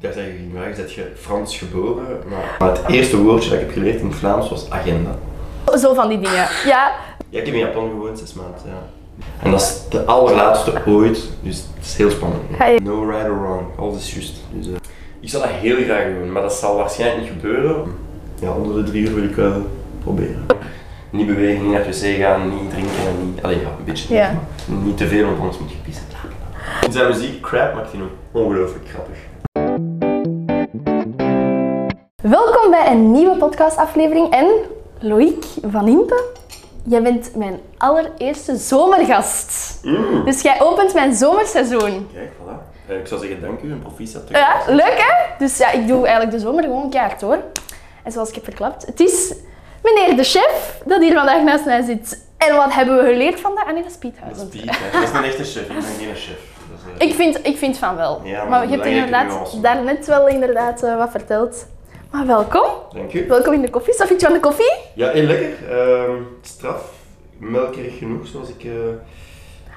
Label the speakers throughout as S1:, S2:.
S1: Daar zeg je nu dat je Frans geboren, maar, maar het eerste woordje dat ik heb geleerd in het Vlaams was agenda.
S2: Zo van die dingen. Ja,
S1: Ja, ik heb in Japan gewoond, zes maanden, ja. En dat is de allerlaatste ooit, dus het is heel spannend.
S2: Ga je-
S1: No right or wrong, alles is juist. Dus, eh, ik zal dat heel graag doen, maar dat zal waarschijnlijk niet gebeuren. Ja, onder de drie uur wil ik wel proberen. Niet bewegen, niet naar het wc gaan, niet drinken, en niet... Allee, ja, een beetje.
S2: Ja.
S1: maar Niet te veel, want anders moet je pissen. In zijn muziek, crap, maakt hij nog ongelooflijk grappig.
S2: Welkom bij een nieuwe podcastaflevering en Loïc van Impe, jij bent mijn allereerste zomergast.
S1: Mm.
S2: Dus jij opent mijn zomerseizoen.
S1: Kijk, voilà. Eh, ik zou zeggen dank u en proficiat.
S2: Ja, leuk hè? Dus ja, ik doe eigenlijk de zomer gewoon kaart hoor. En zoals ik heb verklapt, het is meneer de chef dat hier vandaag naast mij zit. En wat hebben we geleerd vandaag? Ah nee, dat is Piet
S1: Dat is
S2: Huizens.
S1: Piet, hè. dat is een echte chef, ik ben geen chef. Dat is, eh,
S2: Ik vind, ik vind van wel.
S1: Ja, maar
S2: maar je hebt
S1: belangrijke
S2: inderdaad
S1: nuance.
S2: daarnet wel inderdaad eh, wat verteld. Maar welkom.
S1: Dank u.
S2: Welkom in de koffie. Wat vind je van de koffie?
S1: Ja, heel lekker. Ehm, straf. Melkerig genoeg, zoals ik... eh,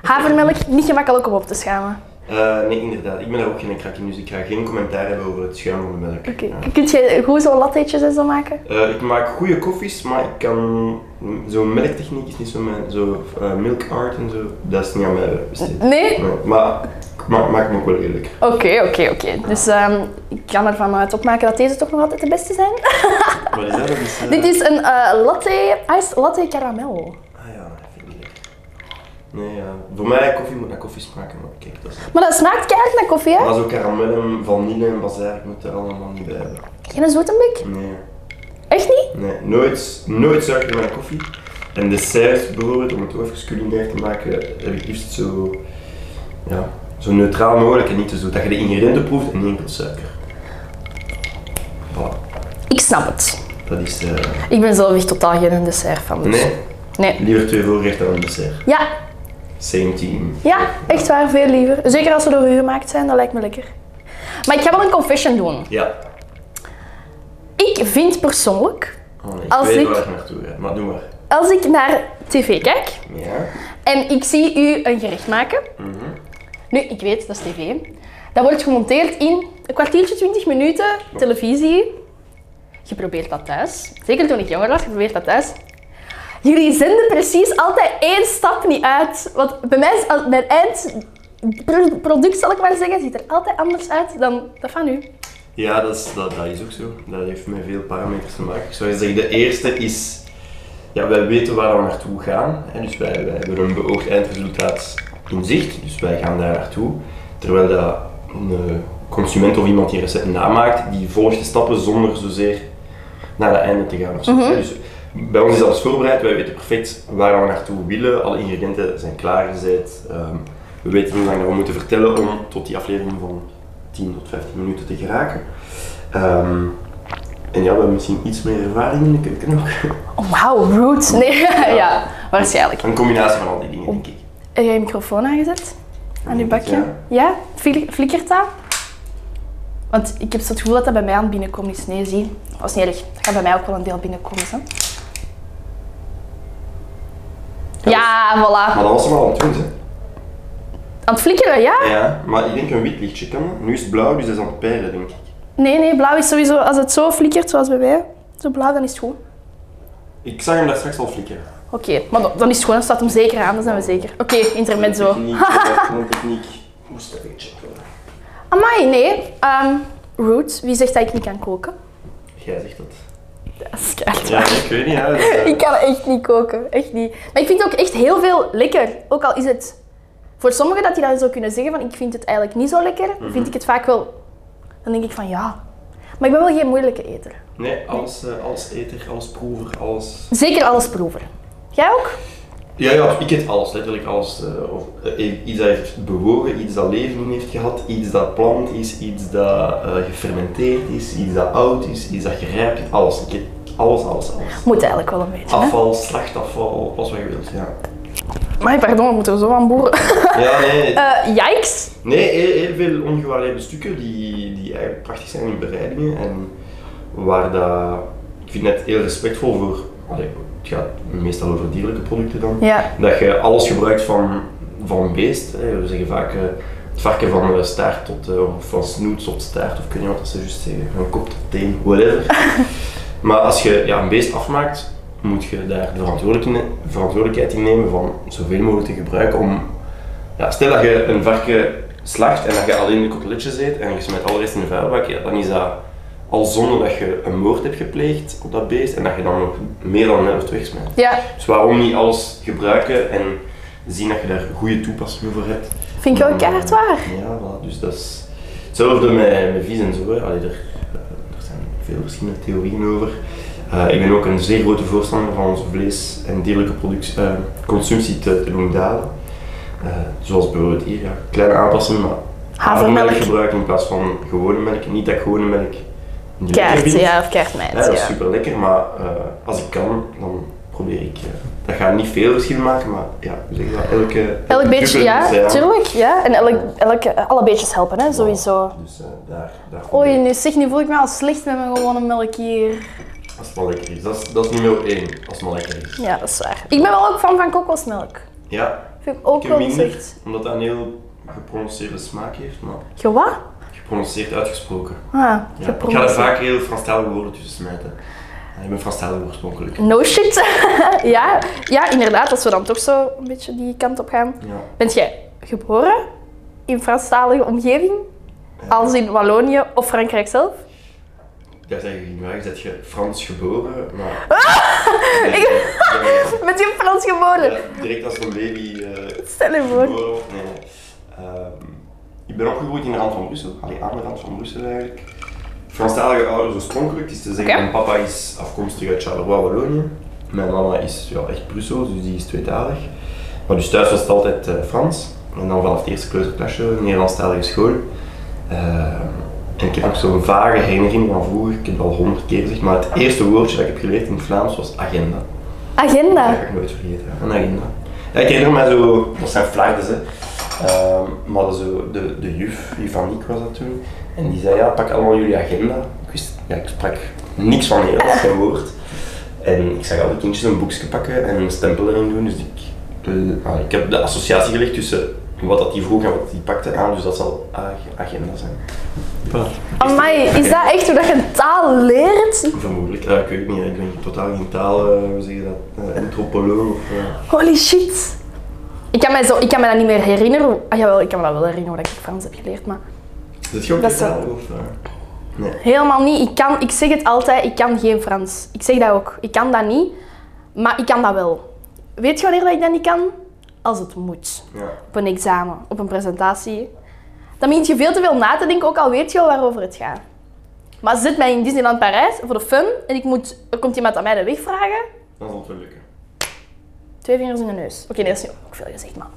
S2: Havermelk, niet gemakkelijk om op te schamen.
S1: eh, nee, inderdaad. Ik ben daar ook geen krak in, dus ik ga geen commentaar hebben over het schuim van de melk.
S2: Oké,
S1: Ja.
S2: Kun je goed zo latteetjes en zo maken?
S1: Eh, ik maak goede koffies, maar ik kan... Zo'n melktechniek is niet zo mijn... Zo eh, milk art en zo, dat is niet aan mij besteed.
S2: Nee?
S1: Nee, maar ik ma- maak hem ook wel heel lekker.
S2: Oké, oké, oké. Dus ehm, ik kan ervan uit opmaken dat deze toch nog altijd de beste zijn.
S1: Wat is dat? Dat is... eh,
S2: Dit is een eh, latte, iced latte caramel.
S1: Ah ja, dat vind ik niet lekker. Nee, ja. Voor mij, koffie moet naar koffie smaken, maar kijk, dat is...
S2: Maar dat smaakt keihard naar koffie, hè?
S1: Maar zo karamel, en vanille en bazaar, ik moet er allemaal niet bij hebben.
S2: Geen zoetenbik?
S1: Nee.
S2: Echt niet?
S1: Nee, nooit, nooit suiker in mijn koffie. En desserts bijvoorbeeld, om het ook even culinair te maken, heb ik liefst zo, ja, zo neutraal mogelijk en niet te zoet. Dat je de ingrediënten proeft en niet enkel suiker. Voilà,
S2: Ik snap het.
S1: dat is... eh,
S2: Ik ben zelf echt totaal geen dessert van. Dus.
S1: nee,
S2: Nee.
S1: liever twee voorgerechten dan een dessert.
S2: Ja,
S1: Same team.
S2: ja, echt waar, veel liever. Zeker als ze door u gemaakt zijn, dat lijkt me lekker. Maar ik ga wel een confession doen.
S1: Ja.
S2: Ik vind persoonlijk,
S1: Oh, nee, ik
S2: Als
S1: weet
S2: ik-
S1: waar ik naartoe ga, maar doe maar.
S2: als ik naar tv kijk,
S1: Ja.
S2: En ik zie u een gerecht maken. Nu, ik weet, dat is tv. Dat wordt gemonteerd in een kwartiertje, 20 minuten, televisie. Je probeert dat thuis. Zeker toen ik jonger was, je probeert dat thuis. Jullie zenden precies altijd één stap niet uit. Want bij mij, is al- mijn eindproduct, zal ik maar zeggen, ziet er altijd anders uit dan dat van u.
S1: Ja, dat is, dat, dat is ook zo. Dat heeft met veel parameters te maken. Ik zou zeggen, de eerste is... Ja, wij weten waar we naartoe gaan. Hè, dus wij, wij hebben een beoogd eindresultaat in zicht. Dus wij gaan daar naartoe. Terwijl dat een eh, consument of iemand die een recept namaakt, die volgt de stappen zonder zozeer naar het einde te gaan. of zo. Hè, Dus bij ons is alles voorbereid. Wij weten perfect waar we naartoe willen. Alle ingrediënten zijn klaargezet. Ehm, we weten hoe lang we moeten vertellen om tot die aflevering van 10 tot 15 minuten te geraken. Ehm, en ja, we hebben misschien iets meer ervaring in de keuken ook.
S2: Oh, wauw, rude. Nee, ja, waarschijnlijk.
S1: Een combinatie van al die dingen, denk ik.
S2: Heb jij je microfoon aangezet? Aan uw bakje?
S1: Ja.
S2: Ja? Fli- Flikkert dat? Want ik heb zo het gevoel dat dat bij mij aan het binnenkomen is. Nee, zie. Dat is niet erg. Dat gaat bij mij ook wel een deel binnenkomen. Hè? Ja, voilà.
S1: Maar dat was er al aan het doen, hè.
S2: Aan het flikkeren, ja?
S1: Ja, maar ik denk een wit lichtje kan dat. Nu is het blauw, dus dat is aan het peilen, denk ik.
S2: Nee, nee, blauw is sowieso... Als het zo flikkert, zoals bij mij, zo blauw, dan is het goed.
S1: Ik zag hem daar straks al flikkeren.
S2: Oké, maar dan- dan is het goed. Dan staat hem zeker aan, dan zijn we zeker. Oké, intermezzo.
S1: Techniek, eh, Gewoon techniek. Moest dat beetje worden.
S2: Amai, nee. Ehm Ruud, wie zegt dat ik niet kan koken?
S1: Jij zegt dat.
S2: Dat is keihard
S1: Ja, ik weet niet, hè. Dat is, eh,
S2: Ik kan echt niet koken, echt niet. Maar ik vind ook echt heel veel lekker. Ook al is het voor sommigen dat die dat zo kunnen zeggen van ik vind het eigenlijk niet zo lekker,
S1: Mhm.
S2: vind ik het vaak wel. Dan denk ik van ja. Maar ik ben wel geen moeilijke eter.
S1: Nee, alles, eh, alles eter, alles proever, alles...
S2: Zeker alles proeven. Jij ook?
S1: Ja, ja, ik eet alles, letterlijk alles. eh, of, eh, iets dat heeft bewogen, iets dat leven in heeft gehad, iets dat plant is, iets dat eh, gefermenteerd is, iets dat oud is, iets dat gerijpt is, alles. Ik eet alles, alles, alles.
S2: Moet eigenlijk wel een beetje. Hè?
S1: Afval, slachtafval, alles wat je wilt, ja.
S2: Maar pardon, we moeten er zo aan boeren.
S1: Ja, nee,
S2: Eh yikes.
S1: nee heel, heel veel ongewaardeerde stukken die, die eigenlijk prachtig zijn in bereidingen en waar dat... Ik vind het heel respectvol voor... allee, het gaat meestal over dierlijke producten dan.
S2: Ja.
S1: dat je alles gebruikt van, van een beest. hè. We zeggen vaak eh, het Het varken van eh, staart tot, eh, of van snoet tot staart, of ik weet niet wat ze juist zeggen, van kop tot teen, whatever. maar als je ja, een beest afmaakt, moet je daar de verantwoordelijk in- verantwoordelijkheid in nemen van zoveel mogelijk te gebruiken om... Ja, stel dat je een varken slacht en dat je alleen de koteletjes eet en je smijt al de rest in de vuilbak, ja, dan is dat al zonder dat je een moord hebt gepleegd op dat beest en dat je dan nog meer dan de helft wegsmijt.
S2: Ja,
S1: Dus waarom niet alles gebruiken en zien dat je daar goede toepassingen voor hebt.
S2: vind ik wel keihard waar.
S1: Ja, voilà. dus dat is hetzelfde met, met vies en zo. hè. Allee, er, eh, er zijn veel verschillende theorieën over. Eh, ik ben ook een zeer grote voorstander van onze vlees- en dierlijke productie- eh, consumptie te, te doen dalen. Eh, zoals bijvoorbeeld hier, ja. kleine aanpassingen, maar
S2: Havermelk.
S1: gebruiken in plaats van gewone melk. Niet dat ik gewone melk niet lekker
S2: Keihard,
S1: vind.
S2: ja, of
S1: Ja,
S2: keihardmeid.
S1: dat is
S2: ja.
S1: super lekker, maar eh, als ik kan, dan probeer ik. eh, dat gaat niet veel verschil maken, maar ja, hoe zeg je dat? Elke,
S2: Elk beetje,
S1: druppel is,
S2: ja, tuurlijk. Ja. En elk, elke, alle beetjes helpen, hè, sowieso.
S1: Dus eh, daar, daar
S2: Oei, Oh, nu, zeg, nu voel ik me al slecht met mijn gewone melk hier.
S1: Als het maar lekker is. Dat is, dat is nummer één, als het maar lekker is.
S2: Ja, dat is waar. Ik ben wel ook fan van kokosmelk.
S1: Ja,
S2: Vind ik ook
S1: ik heb
S2: wel
S1: minder,
S2: echt...
S1: omdat dat een heel geprononceerde smaak heeft, maar
S2: Je wat?
S1: geprononceerd uitgesproken.
S2: Ah,
S1: Ja. Ik ga er
S2: geprobeerd.
S1: vaak heel Franstalige woorden tussen smijten. Ja, ik ben Franstalig oorspronkelijk.
S2: No shit. ja, ja, inderdaad, als we dan toch zo een beetje die kant op gaan.
S1: Ja.
S2: Bent jij geboren in Franstalige omgeving? Als in Wallonië of Frankrijk zelf?
S1: Daar zeg je niet waar, je bent je Frans geboren, maar... Nee, nee, nee.
S2: Bent je Frans geboren?
S1: Ja, direct als een baby eh
S2: Stel je voor.
S1: geboren wordt. Nee, nee. Ehm, ik ben opgegroeid in de rand van Brussel. Allee, aan de rand van Brussel eigenlijk. Franstalige ouders oorspronkelijk. dus Het is te zeggen,
S2: Oké.
S1: mijn papa is afkomstig uit Charleroi, Wallonië. Mijn mama is ja, echt Brussel, dus die is tweetalig. Maar dus thuis was het altijd eh, Frans. En dan vanaf het eerste kleuterklasje, Nederlandstalige school. Ehm, en ik heb nog zo'n vage herinnering van vroeger, ik heb het al honderd keer gezegd, maar het eerste woordje dat ik heb geleerd in het Vlaams was agenda. Dat
S2: Agenda.
S1: ga ik nooit vergeten. hè. Een agenda. Ja, ik herinner me zo, dat zijn flardes hè. Ehm, maar zo, de, de juf, juf Aniek was dat toen. En die zei, ja, pak allemaal jullie agenda. Ik wist, ja, ik sprak niks van Nederlands, geen woord. En ik zag alle kindjes een boekje pakken en een stempel erin doen. Dus ik, eh, ah, ik heb de associatie gelegd tussen wat dat die vroeg en wat die pakte aan. Dus dat zal ag- agenda zijn.
S2: Amai, is dat echt hoe dat je een taal leert?
S1: Vermoedelijk. Ja, ik weet het niet. hè. Ik ben totaal geen taal, eh, hoe zeg je dat, eh, antropoloog of... eh,
S2: Holy shit. Ik kan, mij zo, ik kan me dat niet meer herinneren. Ah jawel, ik kan me dat wel herinneren dat ik Frans heb geleerd, maar
S1: Zit je ook
S2: Dat
S1: in
S2: is wel-
S1: taal of... eh? Nee.
S2: helemaal niet. Ik, kan, ik zeg het altijd, ik kan geen Frans. Ik zeg dat ook. Ik kan dat niet, maar ik kan dat wel. Weet je wanneer dat ik dat niet kan? Als het moet.
S1: Ja.
S2: Op een examen, op een presentatie. Dan begint je veel te veel na te denken, ook al weet je al waarover het gaat. Maar zit mij in Disneyland Parijs voor de fun en ik moet, er komt iemand aan mij de weg vragen,
S1: Dat zal het wel lukken.
S2: Twee vingers in de neus. Oké, nee, dat is niet ook veel gezegd, maar...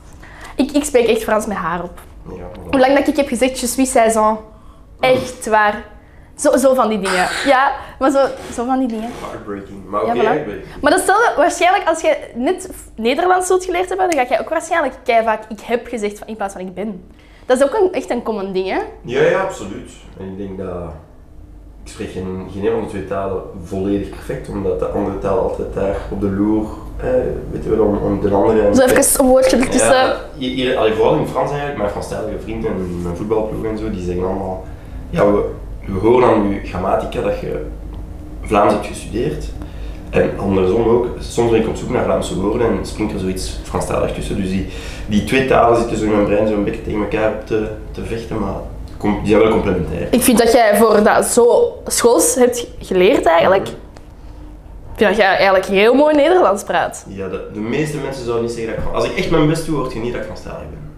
S2: Ik, ik spreek echt Frans met haar op.
S1: Ja, voilà.
S2: Hoe lang dat ik heb gezegd, je suis saison. Echt waar. Zo, zo van die dingen. Ja, maar zo, zo van die dingen.
S1: Heartbreaking. Maar oké,
S2: Ja,
S1: ja, ik
S2: voilà.
S1: ben-
S2: Maar dat stelde waarschijnlijk, als jij net Nederlands zult geleerd hebben, dan ga jij ook waarschijnlijk vaak ik heb gezegd van- in plaats van ik ben. Dat is ook een, echt een common ding, hè?
S1: ja, ja, absoluut. En ik denk dat... Ik spreek geen, geen een van de twee talen volledig perfect, omdat de andere taal altijd daar op de loer, eh, weet je wel, om, om de andere...
S2: Zo even een woordje ertussen.
S1: Ja, hier, hier- allee, vooral in Frans eigenlijk, mijn Franstalige vrienden en mijn voetbalploeg en zo, die zeggen allemaal... Ja, we, we horen aan je grammatica dat je Vlaams hebt gestudeerd. En andersom ook, soms ben ik op zoek naar Vlaamse woorden en springt er zoiets Franstalig tussen. Dus die, die twee talen zitten zo in mijn brein zo'n beetje tegen elkaar op te, te vechten, maar com- die zijn wel complementair.
S2: Ik vind dat jij voor dat zo schools hebt geleerd eigenlijk. Ik vind dat jij eigenlijk heel mooi Nederlands praat.
S1: Ja, de, de meeste mensen zouden niet zeggen dat ik... Fran- Als ik echt mijn best doe, hoort je niet dat ik Franstalig ben.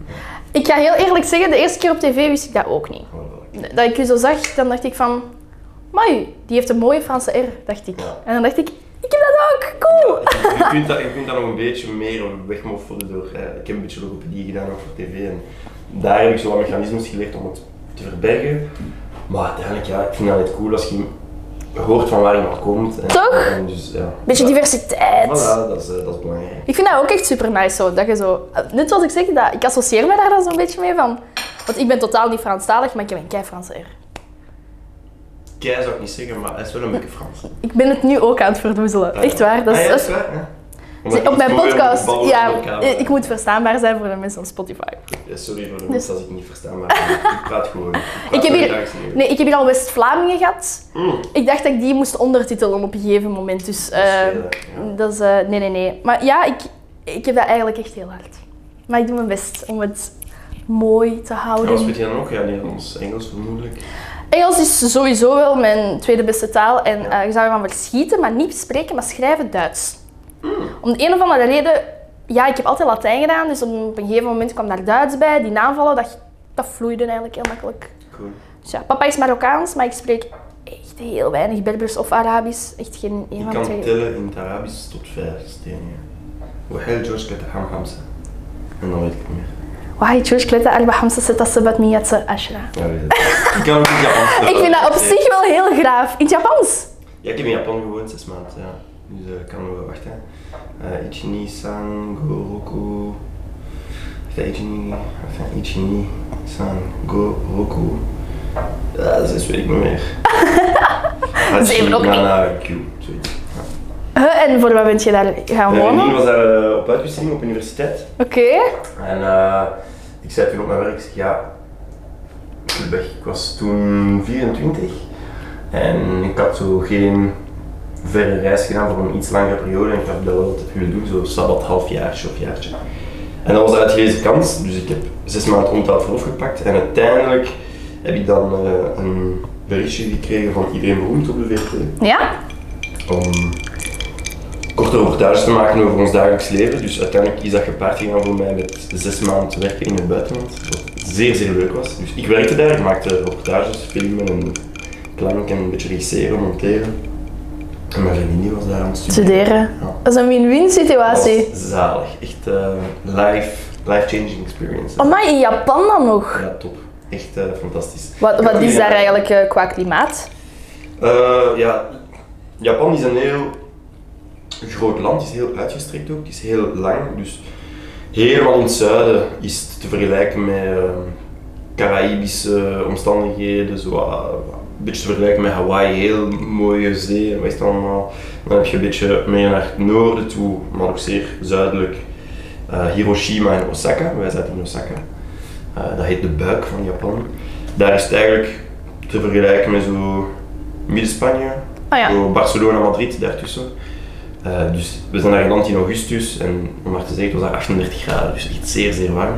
S2: Ik ga heel eerlijk zeggen, de eerste keer op tv wist ik dat ook niet.
S1: Gewoon wel.
S2: Dat ik u zo zag, dan dacht ik van... Mai, die heeft een mooie Franse R, dacht ik.
S1: Ja.
S2: En dan dacht ik, ik heb dat ook, cool!
S1: je, kunt dat, je kunt dat nog een beetje meer wegmoffelen door. eh, ik heb een beetje logopedie gedaan ook voor tv en daar heb ik zo wat mechanismes geleerd om het te verbergen. Maar uiteindelijk, ja, ik vind dat net cool als je hoort van waar iemand komt. En,
S2: Toch?
S1: En dus, ja.
S2: Beetje
S1: Ja,
S2: diversiteit.
S1: Voilà, dat is, eh, dat is belangrijk.
S2: Ik vind dat ook echt super nice zo, dat je zo... eh, Net zoals ik zeg, dat, ik associeer me daar dan zo'n beetje mee van... Want ik ben totaal niet Franstalig, maar ik heb een kei Franse R.
S1: Kei zou ik niet zeggen, maar hij is wel een beetje Frans. Eh,
S2: Ik ben het nu ook aan het verdoezelen. Echt waar, dat
S1: Ah
S2: is...
S1: ja,
S2: dat
S1: dat
S2: is-
S1: waar, hè? Omdat je
S2: op mijn
S1: moet proberen
S2: podcast.
S1: te bouwen aan
S2: Ja,
S1: elkaar.
S2: eh, ik moet verstaanbaar zijn voor de mensen op Spotify.
S1: Ja, Sorry voor de
S2: Dus-
S1: mensen als ik niet verstaan, maar eh, ik praat gewoon.
S2: Ik heb hier-
S1: Nee.
S2: Nee, ik heb hier al West-Vlamingen gehad.
S1: Mm,
S2: Ik dacht dat ik die moest ondertitelen op een gegeven moment. Dus
S1: dat is
S2: eh,
S1: veel, hè. Ja.
S2: dat is. eh, nee, nee, nee. Maar ja, ik, ik heb dat eigenlijk echt heel hard. Maar ik doe mijn best om het mooi te
S1: En wat
S2: houden.
S1: weet je dan nog? Ja, Nederlands, Engels vermoedelijk.
S2: Engels is sowieso wel mijn tweede beste taal. En eh, je zou ervan verschieten, maar niet spreken, maar schrijven Duits.
S1: Hmm.
S2: Om de een of andere reden, ja, ik heb altijd Latijn gedaan. Dus op een gegeven moment kwam daar Duits bij. Die naamvallen, dat, dat vloeide eigenlijk heel makkelijk.
S1: Cool.
S2: Dus ja, papa is Marokkaans, maar ik spreek echt heel weinig Berbers of Arabisch. Echt geen een
S1: Je
S2: van de
S1: kan
S2: twee.
S1: tellen in het eh, Arabisch tot vijf stenen. Wahel George Kataham Hamza. En dan weet ik het niet meer.
S2: Wahai, tjoes, klette, arba, hamsa, seta, sabat, miyatsa, ashra.
S1: Ja, weet het. Ik kan ook in het Japans tellen.
S2: Ik vind dat op
S1: Nee.
S2: zich wel heel graaf. In het Japans?
S1: Ja, ik heb in Japan gewoond, zes maanden. Ja. Dus eh, ik kan wel wachten. Eh ichini, san, go, roku. Enfin, ichini, enfin, ichini, san, go, roku. Ja, zes weet ik niet meer.
S2: Zeven ook niet.
S1: Nana, Q, zoiets. Ja.
S2: Huh, en voor wat bent je daar gaan
S1: Mijn
S2: wonen?
S1: vriendin was
S2: Oké.
S1: daar eh, op uitwisseling op universiteit. En eh, ik zei toen op mijn werk, ik zeg, ja, ik wil weg. Ik was toen 24 en ik had zo geen verre reis gedaan voor een iets langere periode en ik heb dat wel altijd willen doen, zo sabbat halfjaartje of jaartje. En dat was een uitgelezen kans, dus ik heb zes maanden onbetaald verlof gepakt en uiteindelijk heb ik dan eh, een berichtje gekregen van iedereen beroemd op de VRT
S2: Ja?
S1: om korte reportages te maken over ons dagelijks leven. Dus uiteindelijk is dat gepaard gegaan voor mij met zes maanden werken in het buitenland. Wat zeer, zeer leuk was. Dus ik werkte daar, ik maakte reportages, dus filmen en klank en een beetje regisseren, monteren. En mijn vriendin die was daar aan het studeren.
S2: Studeren.
S1: Ja.
S2: Dat is een win-win
S1: Dat
S2: situatie.
S1: was zalig. Echt eh, life, life-changing experience.
S2: Oh, maar in Japan dan nog?
S1: Ja, top. Echt eh, fantastisch.
S2: Wat, wat is
S1: Ja.
S2: daar eigenlijk eh, qua klimaat?
S1: Eh, ja, Japan is een heel groot land, is heel uitgestrekt ook, is heel lang. Dus helemaal in het zuiden is het te vergelijken met eh, Caraïbische omstandigheden, zo, wat- wat een beetje te vergelijken met Hawaii, heel mooie zee en wat is het allemaal. Dan heb je een beetje meer naar het noorden toe, maar ook zeer zuidelijk, eh, Hiroshima en Osaka. Wij zaten in Osaka. Eh, dat heet de buik van Japan. Daar is het eigenlijk te vergelijken met zo Midden-Spanje,
S2: Ah ja.
S1: zo Barcelona, Madrid, daartussen. Eh, dus we zijn daar geland in augustus en om maar te zeggen, het was daar 38 graden, dus echt zeer, zeer warm.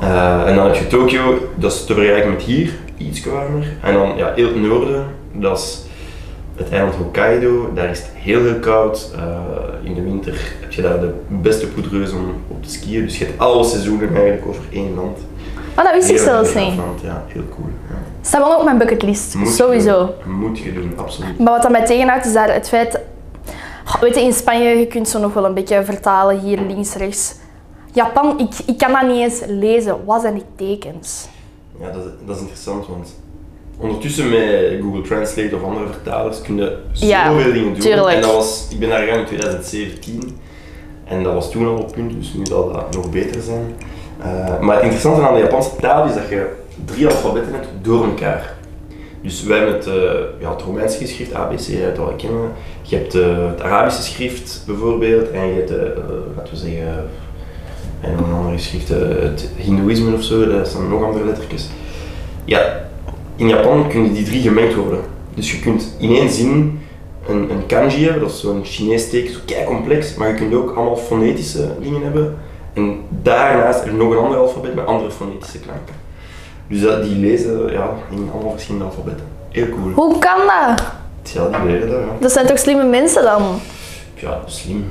S1: Eh, en dan heb je Tokio, dat is te vergelijken met hier, iets warmer. En dan ja, heel het noorden, dat is het eiland Hokkaido, daar is het heel heel koud. Eh, in de winter heb je daar de beste poedreus om op te skiën, dus je hebt alle seizoenen eigenlijk over één land.
S2: Oh, dat wist ik
S1: Heel
S2: zelfs
S1: interessant
S2: niet.
S1: land, Ja, heel cool. ja.
S2: Staat wel op mijn bucketlist.
S1: Moet je
S2: Sowieso.
S1: doen, Moet je doen, absoluut.
S2: Maar wat dat mij tegenhoudt is daar het feit... Goh, weet je, in Spanje, je kunt zo nog wel een beetje vertalen, hier links, rechts. Japan, ik, ik kan dat niet eens lezen. Wat zijn die tekens?
S1: Ja, dat, dat is interessant, want ondertussen met Google Translate of andere vertalers kun je zoveel
S2: Ja,
S1: dingen doen.
S2: tuurlijk.
S1: En dat was, ik ben daar gegaan in 2017 en dat was toen al op punt, dus nu zal dat nog beter zijn. Eh, maar het interessante aan de Japanse taal is dat je drie alfabetten hebt door elkaar. Dus wij hebben het, eh, ja, het Romeinse geschrift, ABC, uit wat we kennen. Je hebt eh, het Arabische schrift bijvoorbeeld en je hebt, eh, eh, laten we zeggen, en een andere schrift, eh, het Hindoeïsme of zo, daar staan nog andere lettertjes. Ja, in Japan kunnen die drie gemengd worden. Dus je kunt in één zin een, een kanji hebben, dat is zo'n Chinees teken, zo kei complex, maar je kunt ook allemaal fonetische dingen hebben. En daarnaast er nog een ander alfabet met andere fonetische klanken. Dus dat, die lezen ja, in allemaal verschillende alfabetten. Heel cool.
S2: Hoe kan dat?
S1: Ja, die leren dat. Ja.
S2: Dat zijn toch slimme mensen dan?
S1: Ja, slim.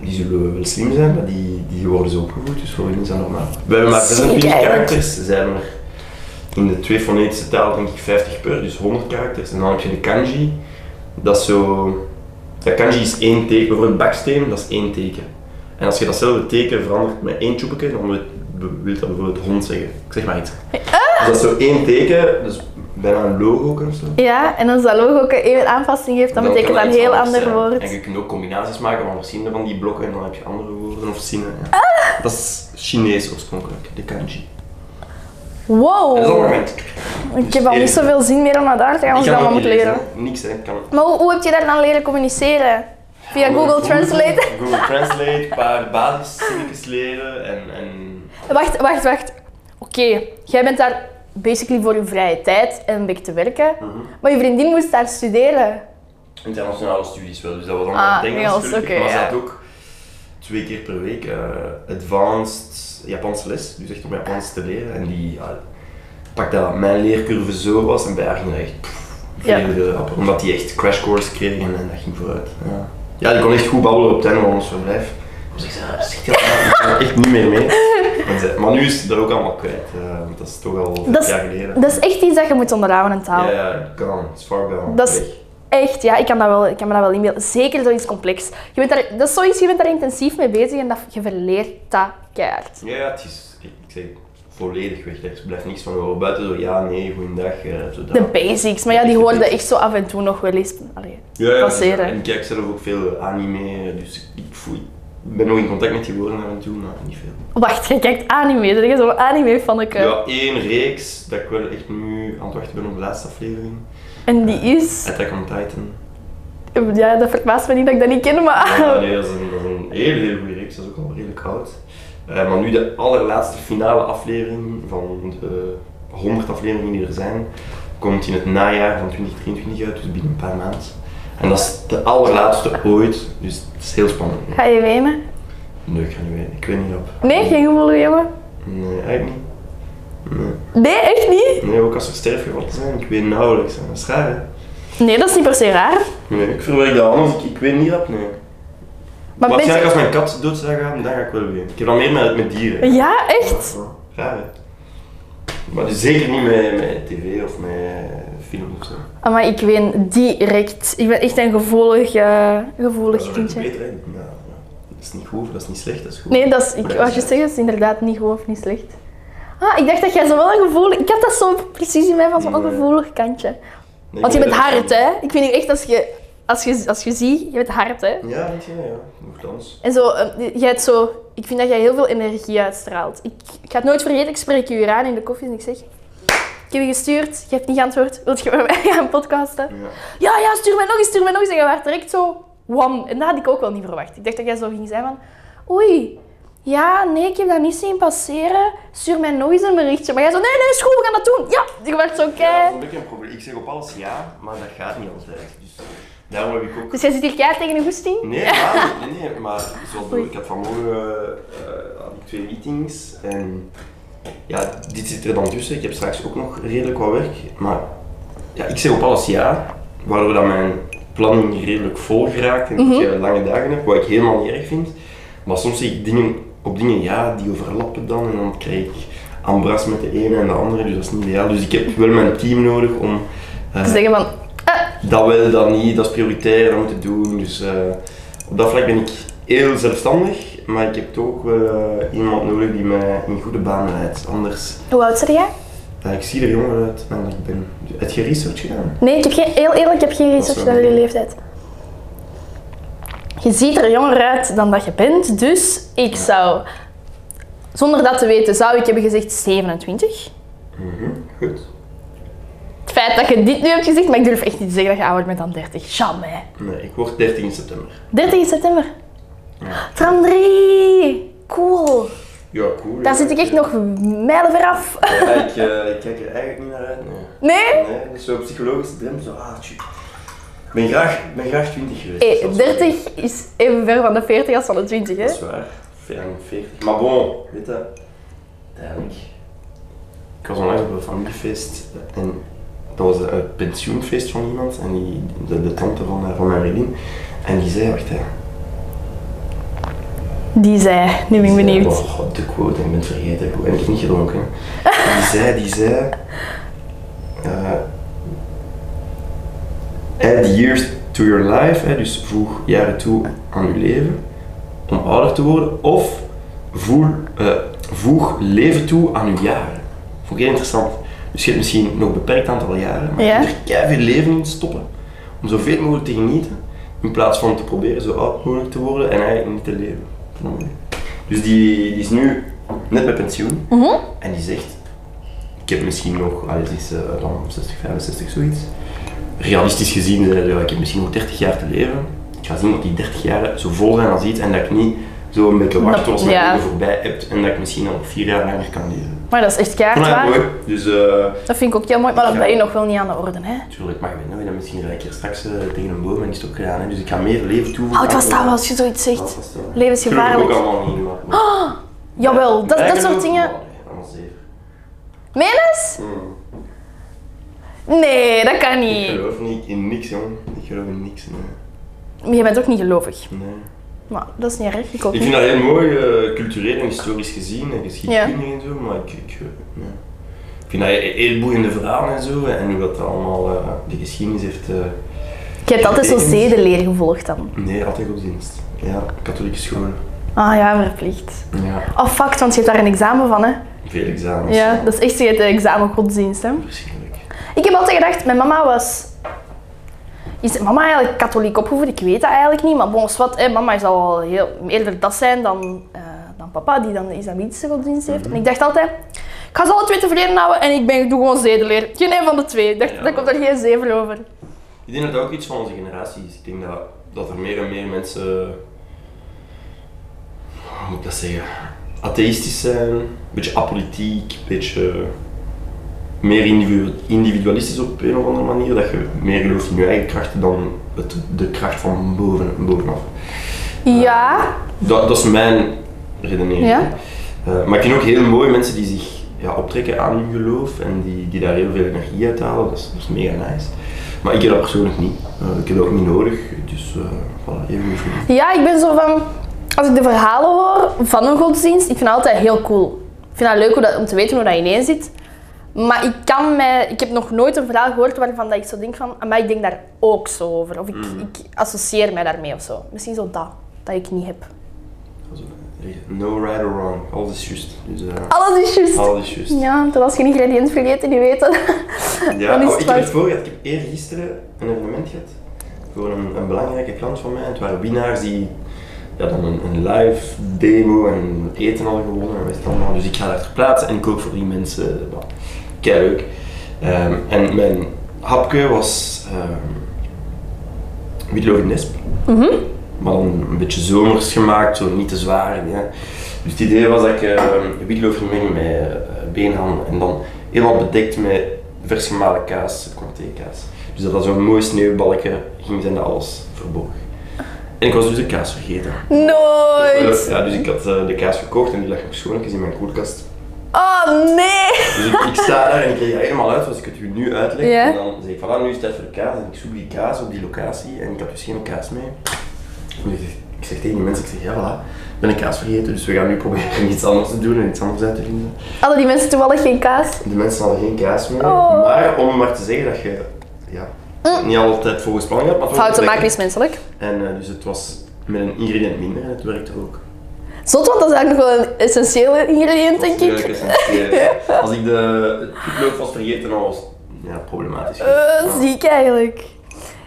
S1: Die zullen wel slim zijn, maar die, die worden zo opgevoed, dus voor hen is dat normaal. We hebben maar
S2: Ziek
S1: 26
S2: eigenlijk.
S1: karakters, ze hebben er in de twee fonetische taal denk ik 50 per, dus 100 karakters. En dan heb je de kanji, dat is zo... Dat kanji is één teken, bijvoorbeeld baksteen, dat is één teken. En als je datzelfde teken verandert met één tjoepeke, dan wil wil dat bijvoorbeeld hond zeggen. Ik zeg maar iets. Dus dat is zo één teken, dus bijna een logo ook of zo.
S2: Ja, en als dat logo ook even aanpassing heeft, dan, betekent dat
S1: kan
S2: een
S1: iets
S2: heel
S1: anders
S2: ander
S1: zijn.
S2: woord.
S1: En je kunt ook combinaties maken van verschillende van die blokken en dan heb je andere woorden of zinnen. ja.
S2: Ah!
S1: Dat is Chinees oorspronkelijk, de kanji. En dat is allemaal
S2: Wow!
S1: gemengd.
S2: Oh. Ik heb al niet zoveel zin meer om naar daar te gaan als
S1: Ik
S2: ik
S1: kan
S2: dat
S1: ook
S2: allemaal
S1: niet
S2: moet
S1: lezen,
S2: leren.
S1: hè. Niks, hè. Ik kan
S2: Maar hoe, hoe heb je daar dan leren communiceren? Via Google Translate.
S1: Google Translate, een paar basisdingetjes leren en, en
S2: Wacht, wacht, wacht. Oké, jij bent daar basically voor je vrije tijd en een beetje te werken.
S1: Mhm.
S2: Maar je vriendin moest daar studeren.
S1: internationale studies wel. Dus dat was dan
S2: Ah,
S1: het Engels,
S2: Engels,
S1: natuurlijk.
S2: oké,
S1: maar ze
S2: ja.
S1: had ook twee keer per week eh, advanced Japanse les, dus echt om Japans te leren. En die ja, pak dat mijn leercurve zo was en bij haar ging dat echt pff,
S2: Ja.
S1: veel de rap. Omdat die echt crashcourse kreeg en, en dat ging vooruit. Ja. ja, die kon echt goed babbelen op het einde van ons verblijf. Dus ik zei, "Ah, zeg dat maar, ik kan er echt niet meer mee. En ze- maar nu is het er ook allemaal kwijt, eh, want dat is toch al vijf
S2: Dat is-
S1: jaar geleden.
S2: Dat is echt iets dat je moet onderhouden, een taal.
S1: Ja, ja, gone. It's far gone.
S2: Dat is
S1: Weg.
S2: echt, ja, ik kan, dat wel, ik kan me dat wel inbeelden. Zeker zoiets complex. Je bent daar, dat is zoiets, je bent daar intensief mee bezig en dat, je verleert dat keihard.
S1: Ja, ja, het is, ik, ik zeg, volledig weg. Er blijft niks van horen. Buiten zo, ja, nee, goeiedag, eh, zo dat.
S2: De basics, maar ja, die hoorde echt zo af en toe nog wel eens. Allee,
S1: Ja, ja,
S2: passeren.
S1: En ik kijk zelf ook veel anime, dus ik, voel, ik ben nog in contact met die woorden af en toe, maar niet veel.
S2: Wacht, je kijkt anime, er is zo'n anime van ik.
S1: Ja, één reeks dat ik wel echt nu aan het wachten ben op de laatste aflevering.
S2: En die is...
S1: Attack on Titan.
S2: Ja, dat verbaast me niet dat ik dat niet ken, maar...
S1: Ja, nee, dat is een, dat is een hele, hele goede reeks. Dat is ook al redelijk oud. Eh, maar nu de allerlaatste finale aflevering van de 100 afleveringen die er zijn, komt in het najaar van 2023 uit, dus binnen een paar maanden. En dat is de allerlaatste ooit, dus het is heel spannend.
S2: Ga je wenen?
S1: Nee, ik ga niet weten. Ik weet niet op.
S2: Nee, geen gevoel, jongen.
S1: Nee, eigenlijk niet. Nee.
S2: Nee, echt niet?
S1: nee, ook als er sterfgevallen zijn, ik weet nauwelijks. hè. Dat is raar, hè?
S2: Nee, dat is niet per se raar.
S1: Nee, ik verwerk dat anders. Ik, ik weet niet op, nee.
S2: Maar
S1: Waarschijnlijk
S2: mensen...
S1: als mijn kat dood zou gaan, dan ga ik wel weer. Ik heb dan meer met, met dieren.
S2: Ja, echt?
S1: Raar, hè? Maar dus zeker niet met, met tv of met film of zo.
S2: Maar ik ween direct. Ik ben echt een gevoelig, eh, gevoelig
S1: dat is
S2: kindje.
S1: beter, hè? Nou, ja. Dat is niet goed, dat is niet slecht, dat is goed.
S2: Nee, dat is, ik wou je zeggen, dat is inderdaad niet goed of niet slecht. Ah, ik dacht dat jij zo wel een gevoelig... Ik had dat zo precies in mij van zo'n
S1: Nee.
S2: gevoelig kantje.
S1: Nee,
S2: Want je
S1: maar
S2: bent
S1: dat-
S2: hard, hè? Ik vind echt, als je, als je, als je ziet, je bent hard, hè?
S1: Ja, weet je, ja. Nochtans.
S2: En zo, eh, jij hebt zo... Ik vind dat jij heel veel energie uitstraalt. Ik, ik ga het nooit vergeten, ik spreek je hier aan in de koffie en ik zeg... Ik heb je gestuurd, je hebt niet geantwoord. Wilt je met mij gaan podcasten?
S1: Ja.
S2: Ja, ja, stuur mij nog eens, stuur mij nog eens. En je werd direct zo wam. En dat had ik ook wel niet verwacht. Ik dacht dat jij zo ging zijn van... Oei, ja, nee, ik heb dat niet zien passeren. Stuur mij nog eens een berichtje. Maar jij zo... Nee, nee, is goed, we gaan dat doen. Ja, je werd zo
S1: Ja, dat is
S2: kei...
S1: een beetje een probleem. Ik zeg op alles ja, maar dat gaat niet altijd. Dus daarom heb ik ook
S2: Dus jij zit hier kei tegen een goesting?
S1: Nee, maar, nee, nee, maar zoals bedoeld, ik had vanmorgen eh, had ik twee meetings en ja, dit zit er dan tussen. Ik heb straks ook nog redelijk wat werk, maar ja, ik zeg op alles ja, waardoor dat mijn planning redelijk vol geraakt en ik eh, lange dagen heb, wat ik helemaal niet erg vind. Maar soms zie ik dingen, op dingen ja, die overlappen dan en dan krijg ik ambras met de ene en de andere, dus dat is niet ideaal. Dus ik heb wel mijn team nodig om eh,
S2: Te zeggen van... eh,
S1: dat wil, dat niet, dat is prioritair, dat moet je doen. Dus eh, op dat vlak ben ik heel zelfstandig, maar ik heb toch ook wel eh, iemand nodig die mij in goede banen leidt. Anders,
S2: hoe oud ben jij?
S1: ja, ik zie er jonger uit dan ik ben. Heb je research gedaan?
S2: Nee, ik heb geen, heel eerlijk, ik heb geen
S1: is
S2: research
S1: wel
S2: naar jullie
S1: goed.
S2: leeftijd. Je ziet er jonger uit dan dat je bent, dus ik zou, zonder dat te weten, zou ik hebben gezegd 27.
S1: Mhm, Goed.
S2: Het feit dat je dit nu hebt gezegd, maar ik durf echt niet te zeggen dat je ouder bent dan 30. Jamais.
S1: Nee, ik word 13 in september.
S2: 30 september.
S1: Ja.
S2: Tram 3. Cool.
S1: Ja, cool.
S2: Daar
S1: ja,
S2: zit ik echt nog mijlen veraf.
S1: Ja, ik, eh, ik kijk er eigenlijk niet naar uit. Nee.
S2: Nee?
S1: Nee, dat is zo psychologisch drempel. Zo, ah, tjoe. Ik ben graag, ik ben graag 20 geweest.
S2: Hey,
S1: Dat is wel-
S2: 30 Eh, is even ver van de 40 als van de 20, hè?
S1: Dat is waar. 40. Maar bon, weet je, uiteindelijk. Ik was onlangs op een familiefeest en dat was een pensioenfeest van iemand en die, de, de tante van, haar- van mijn vriendin. En die zei, wacht hè.
S2: Die zei, nu ben ik
S1: die zei,
S2: benieuwd.
S1: Oh, god, de quote, en ik ben het vergeten. hoe- En ik heb niet gedronken. hè. Die zei, die zei... eh, add years to your life, hè, dus voeg jaren toe aan je leven om ouder te worden. Of voel, eh, voeg leven toe aan je jaren. Vond ik heel interessant. Dus je hebt misschien nog een beperkt aantal jaren, maar
S2: Ja.
S1: je kunt er veel leven in stoppen. Om zoveel mogelijk te genieten, in plaats van te proberen zo oud mogelijk te worden en eigenlijk niet te leven. Vond ik mooi. Dus die, die is nu net met pensioen
S2: Mhm.
S1: en die zegt, ik heb misschien nog, alles is eh, eh, dan 60, 65, zoiets. Realistisch gezien, zei hij, ja, ik heb misschien nog 30 jaar te leven. ik ga zien dat die 30 jaar zo vol zijn als iets en dat ik niet zo een beetje wacht
S2: Dat-
S1: tot als mijn
S2: ja.
S1: leven voorbij hebt en dat ik misschien al vier jaar langer kan leven.
S2: Maar dat is echt kaart
S1: Maar ja,
S2: waar.
S1: mooi. Dus eh
S2: Dat vind ik ook heel mooi, maar dat
S1: Ja.
S2: ben je nog wel niet aan de orde, hè?
S1: natuurlijk mag ik weet nooit, en misschien rijd ik hier straks eh, tegen een boom en is het ook gedaan. Hè. Dus ik ga meer leven toevoegen.
S2: Oud Oh, was dat
S1: aan-
S2: wel als je zoiets zegt.
S1: Oud was dat wel.
S2: Leven is
S1: Gelukkig
S2: gevaarlijk.
S1: ook allemaal niet, maar...
S2: Oh, Jawel, dat, dat soort dingen.
S1: Oh, Allemaal zeven.
S2: Menens?
S1: Hmm.
S2: Nee, dat kan
S1: Ik
S2: niet.
S1: geloof niet in niks, jongen. Ik geloof in niks. Nee.
S2: Maar je bent ook niet gelovig.
S1: nee.
S2: Maar dat is niet erg, ik ook
S1: Ik
S2: niet.
S1: vind dat heel mooi, eh, cultureel en historisch gezien en geschiedkundig en zo, maar ik, ik, eh, ja. ik vind dat he- heel boeiende verhalen en zo en hoe dat allemaal eh, de geschiedenis heeft. eh,
S2: Je hebt altijd zo zedeleer gevolgd dan.
S1: nee, altijd godsdienst. Ja, katholieke school.
S2: Ah ja, verplicht.
S1: Ja,
S2: Oh fuck, want je hebt daar een examen van, hè?
S1: veel examens.
S2: Ja, dat is echt je hebt een examen godsdienst, hè?
S1: Verschrikkelijk.
S2: Ik heb altijd gedacht, mijn mama was... Is mama eigenlijk katholiek opgevoed? Ik weet dat eigenlijk niet, maar volgens wat, hè, mama zal al heel, eerder dat zijn dan, eh, dan papa, die dan de islamitische godsdienst heeft. En ik dacht altijd, ik ga ze alle twee tevreden houden en ik ben, doe gewoon zedeleer. Geen een van de twee. Ik dacht,
S1: Ja.
S2: daar komt er geen zeven over.
S1: Ik denk dat dat ook iets van onze generatie is. Ik denk dat, dat er meer en meer mensen, hoe moet ik dat zeggen, atheïstisch zijn, een beetje apolitiek, een beetje meer individu- individualistisch op een of andere manier. Dat je meer gelooft in je eigen krachten dan het, de kracht van boven, bovenaf.
S2: Ja,
S1: Dat, dat is mijn redenering.
S2: Ja.
S1: Eh, maar ik vind ook heel mooi mensen die zich ja, optrekken aan hun geloof en die, die daar heel veel energie uit halen. Dat is, dat is mega nice. Maar ik heb dat persoonlijk niet. Eh, ik heb dat ook niet nodig. Dus eh voilà, even goed.
S2: Ja, ik ben zo van. Als ik de verhalen hoor van een godsdienst, ik vind dat altijd heel cool. Ik vind dat leuk hoe dat, om te weten hoe dat ineen zit. Maar ik, kan mij, ik heb nog nooit een verhaal gehoord waarvan dat ik zo denk van, maar ik denk daar ook zo over. Of ik, ik associeer mij daarmee of zo. Misschien zo dat, dat ik niet heb.
S1: Also, No right or wrong. Alles is juist. Dus, eh,
S2: Alles is juist.
S1: alles is juist.
S2: Ja, terwijl als je een ingrediënt vergeet en je weet dat.
S1: Ja,
S2: Dan is
S1: oh,
S2: het
S1: ik heb
S2: fout.
S1: het voor gehad. Ik heb eergisteren een evenement gehad voor een, een belangrijke klant van mij. Het waren winnaars die ja, dan een, een live demo en eten hadden gewonnen en weet het allemaal. Dus ik ga daar ter plaatse en ik kook voor die mensen. Wat leuk. en mijn hapje was ehm witloof in nesp. Maar dan een beetje zomers gemaakt, zo niet te zwaar. Ja. Dus het idee was dat ik eh witloof vermengde met eh, beenham en dan helemaal bedekt met vers gemalen kaas, comté-kaas. Dus dat dat zo'n mooi sneeuwbalkje ging zijn dat alles verborg. En ik was dus de kaas vergeten.
S2: Nooit!
S1: Ja, dus ik had eh, de kaas gekocht en die lag nog schoonlijk in mijn koelkast.
S2: Oh nee!
S1: Dus ik, ik sta daar en ik krijg dat helemaal uit zoals ik het u nu uitleg.
S2: Ja.
S1: En dan zeg ik, voilà, nu is het tijd voor de kaas. En ik zoek die kaas op die locatie en ik had dus geen kaas mee. En ik, zeg- ik zeg tegen die mensen, ik zeg, ja voilà, ik ben een kaas vergeten. Dus we gaan nu proberen iets anders te doen en iets anders uit te vinden.
S2: Hadden die mensen toevallig geen kaas?
S1: De mensen hadden geen kaas meer.
S2: Oh. Mm.
S1: Maar om maar te zeggen dat je ja, niet altijd volgens plan gaat, maar het was
S2: Fouten
S1: wel
S2: maken is
S1: lekker.
S2: menselijk.
S1: En eh, dus het was met een ingrediënt minder en het werkte ook.
S2: Zot, want dat is eigenlijk nog wel een essentiële ingrediënt, denk ik.
S1: Tuurlijk, essentieel. Als ik de loop was vergeten, dan was het ja, problematisch.
S2: Eh,
S1: Ja.
S2: ziek eigenlijk.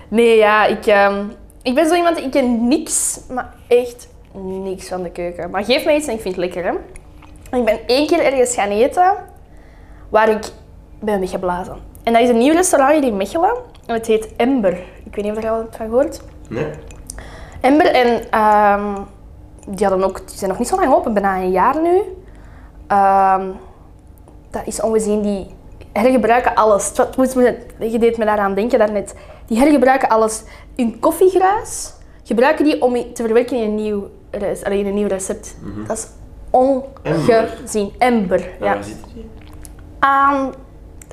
S2: Nee, ja, ik, ehm, ik ben zo iemand, ik ken niks, maar echt niks van de keuken. Maar geef mij iets en ik vind het lekker, hè. En ik ben één keer ergens gaan eten waar ik ben weggeblazen. En dat is een nieuw restaurant hier in Mechelen. En het heet Ember. Ik weet niet of je er al van gehoord.
S1: Nee?
S2: Ember en ehm, die, hadden ook, die zijn nog niet zo lang open, bijna een jaar nu. Ehm, dat is ongezien, die hergebruiken alles. Het was- het moest- je deed me daaraan denken daarnet. Die hergebruiken alles. Hun koffiegruis gebruiken die om i- te verwerken in een nieuw, res- allee, in een nieuw recept. Dat is ongezien. Ember.
S1: Ja.
S2: Ja.
S1: Waar zit die?
S2: Aan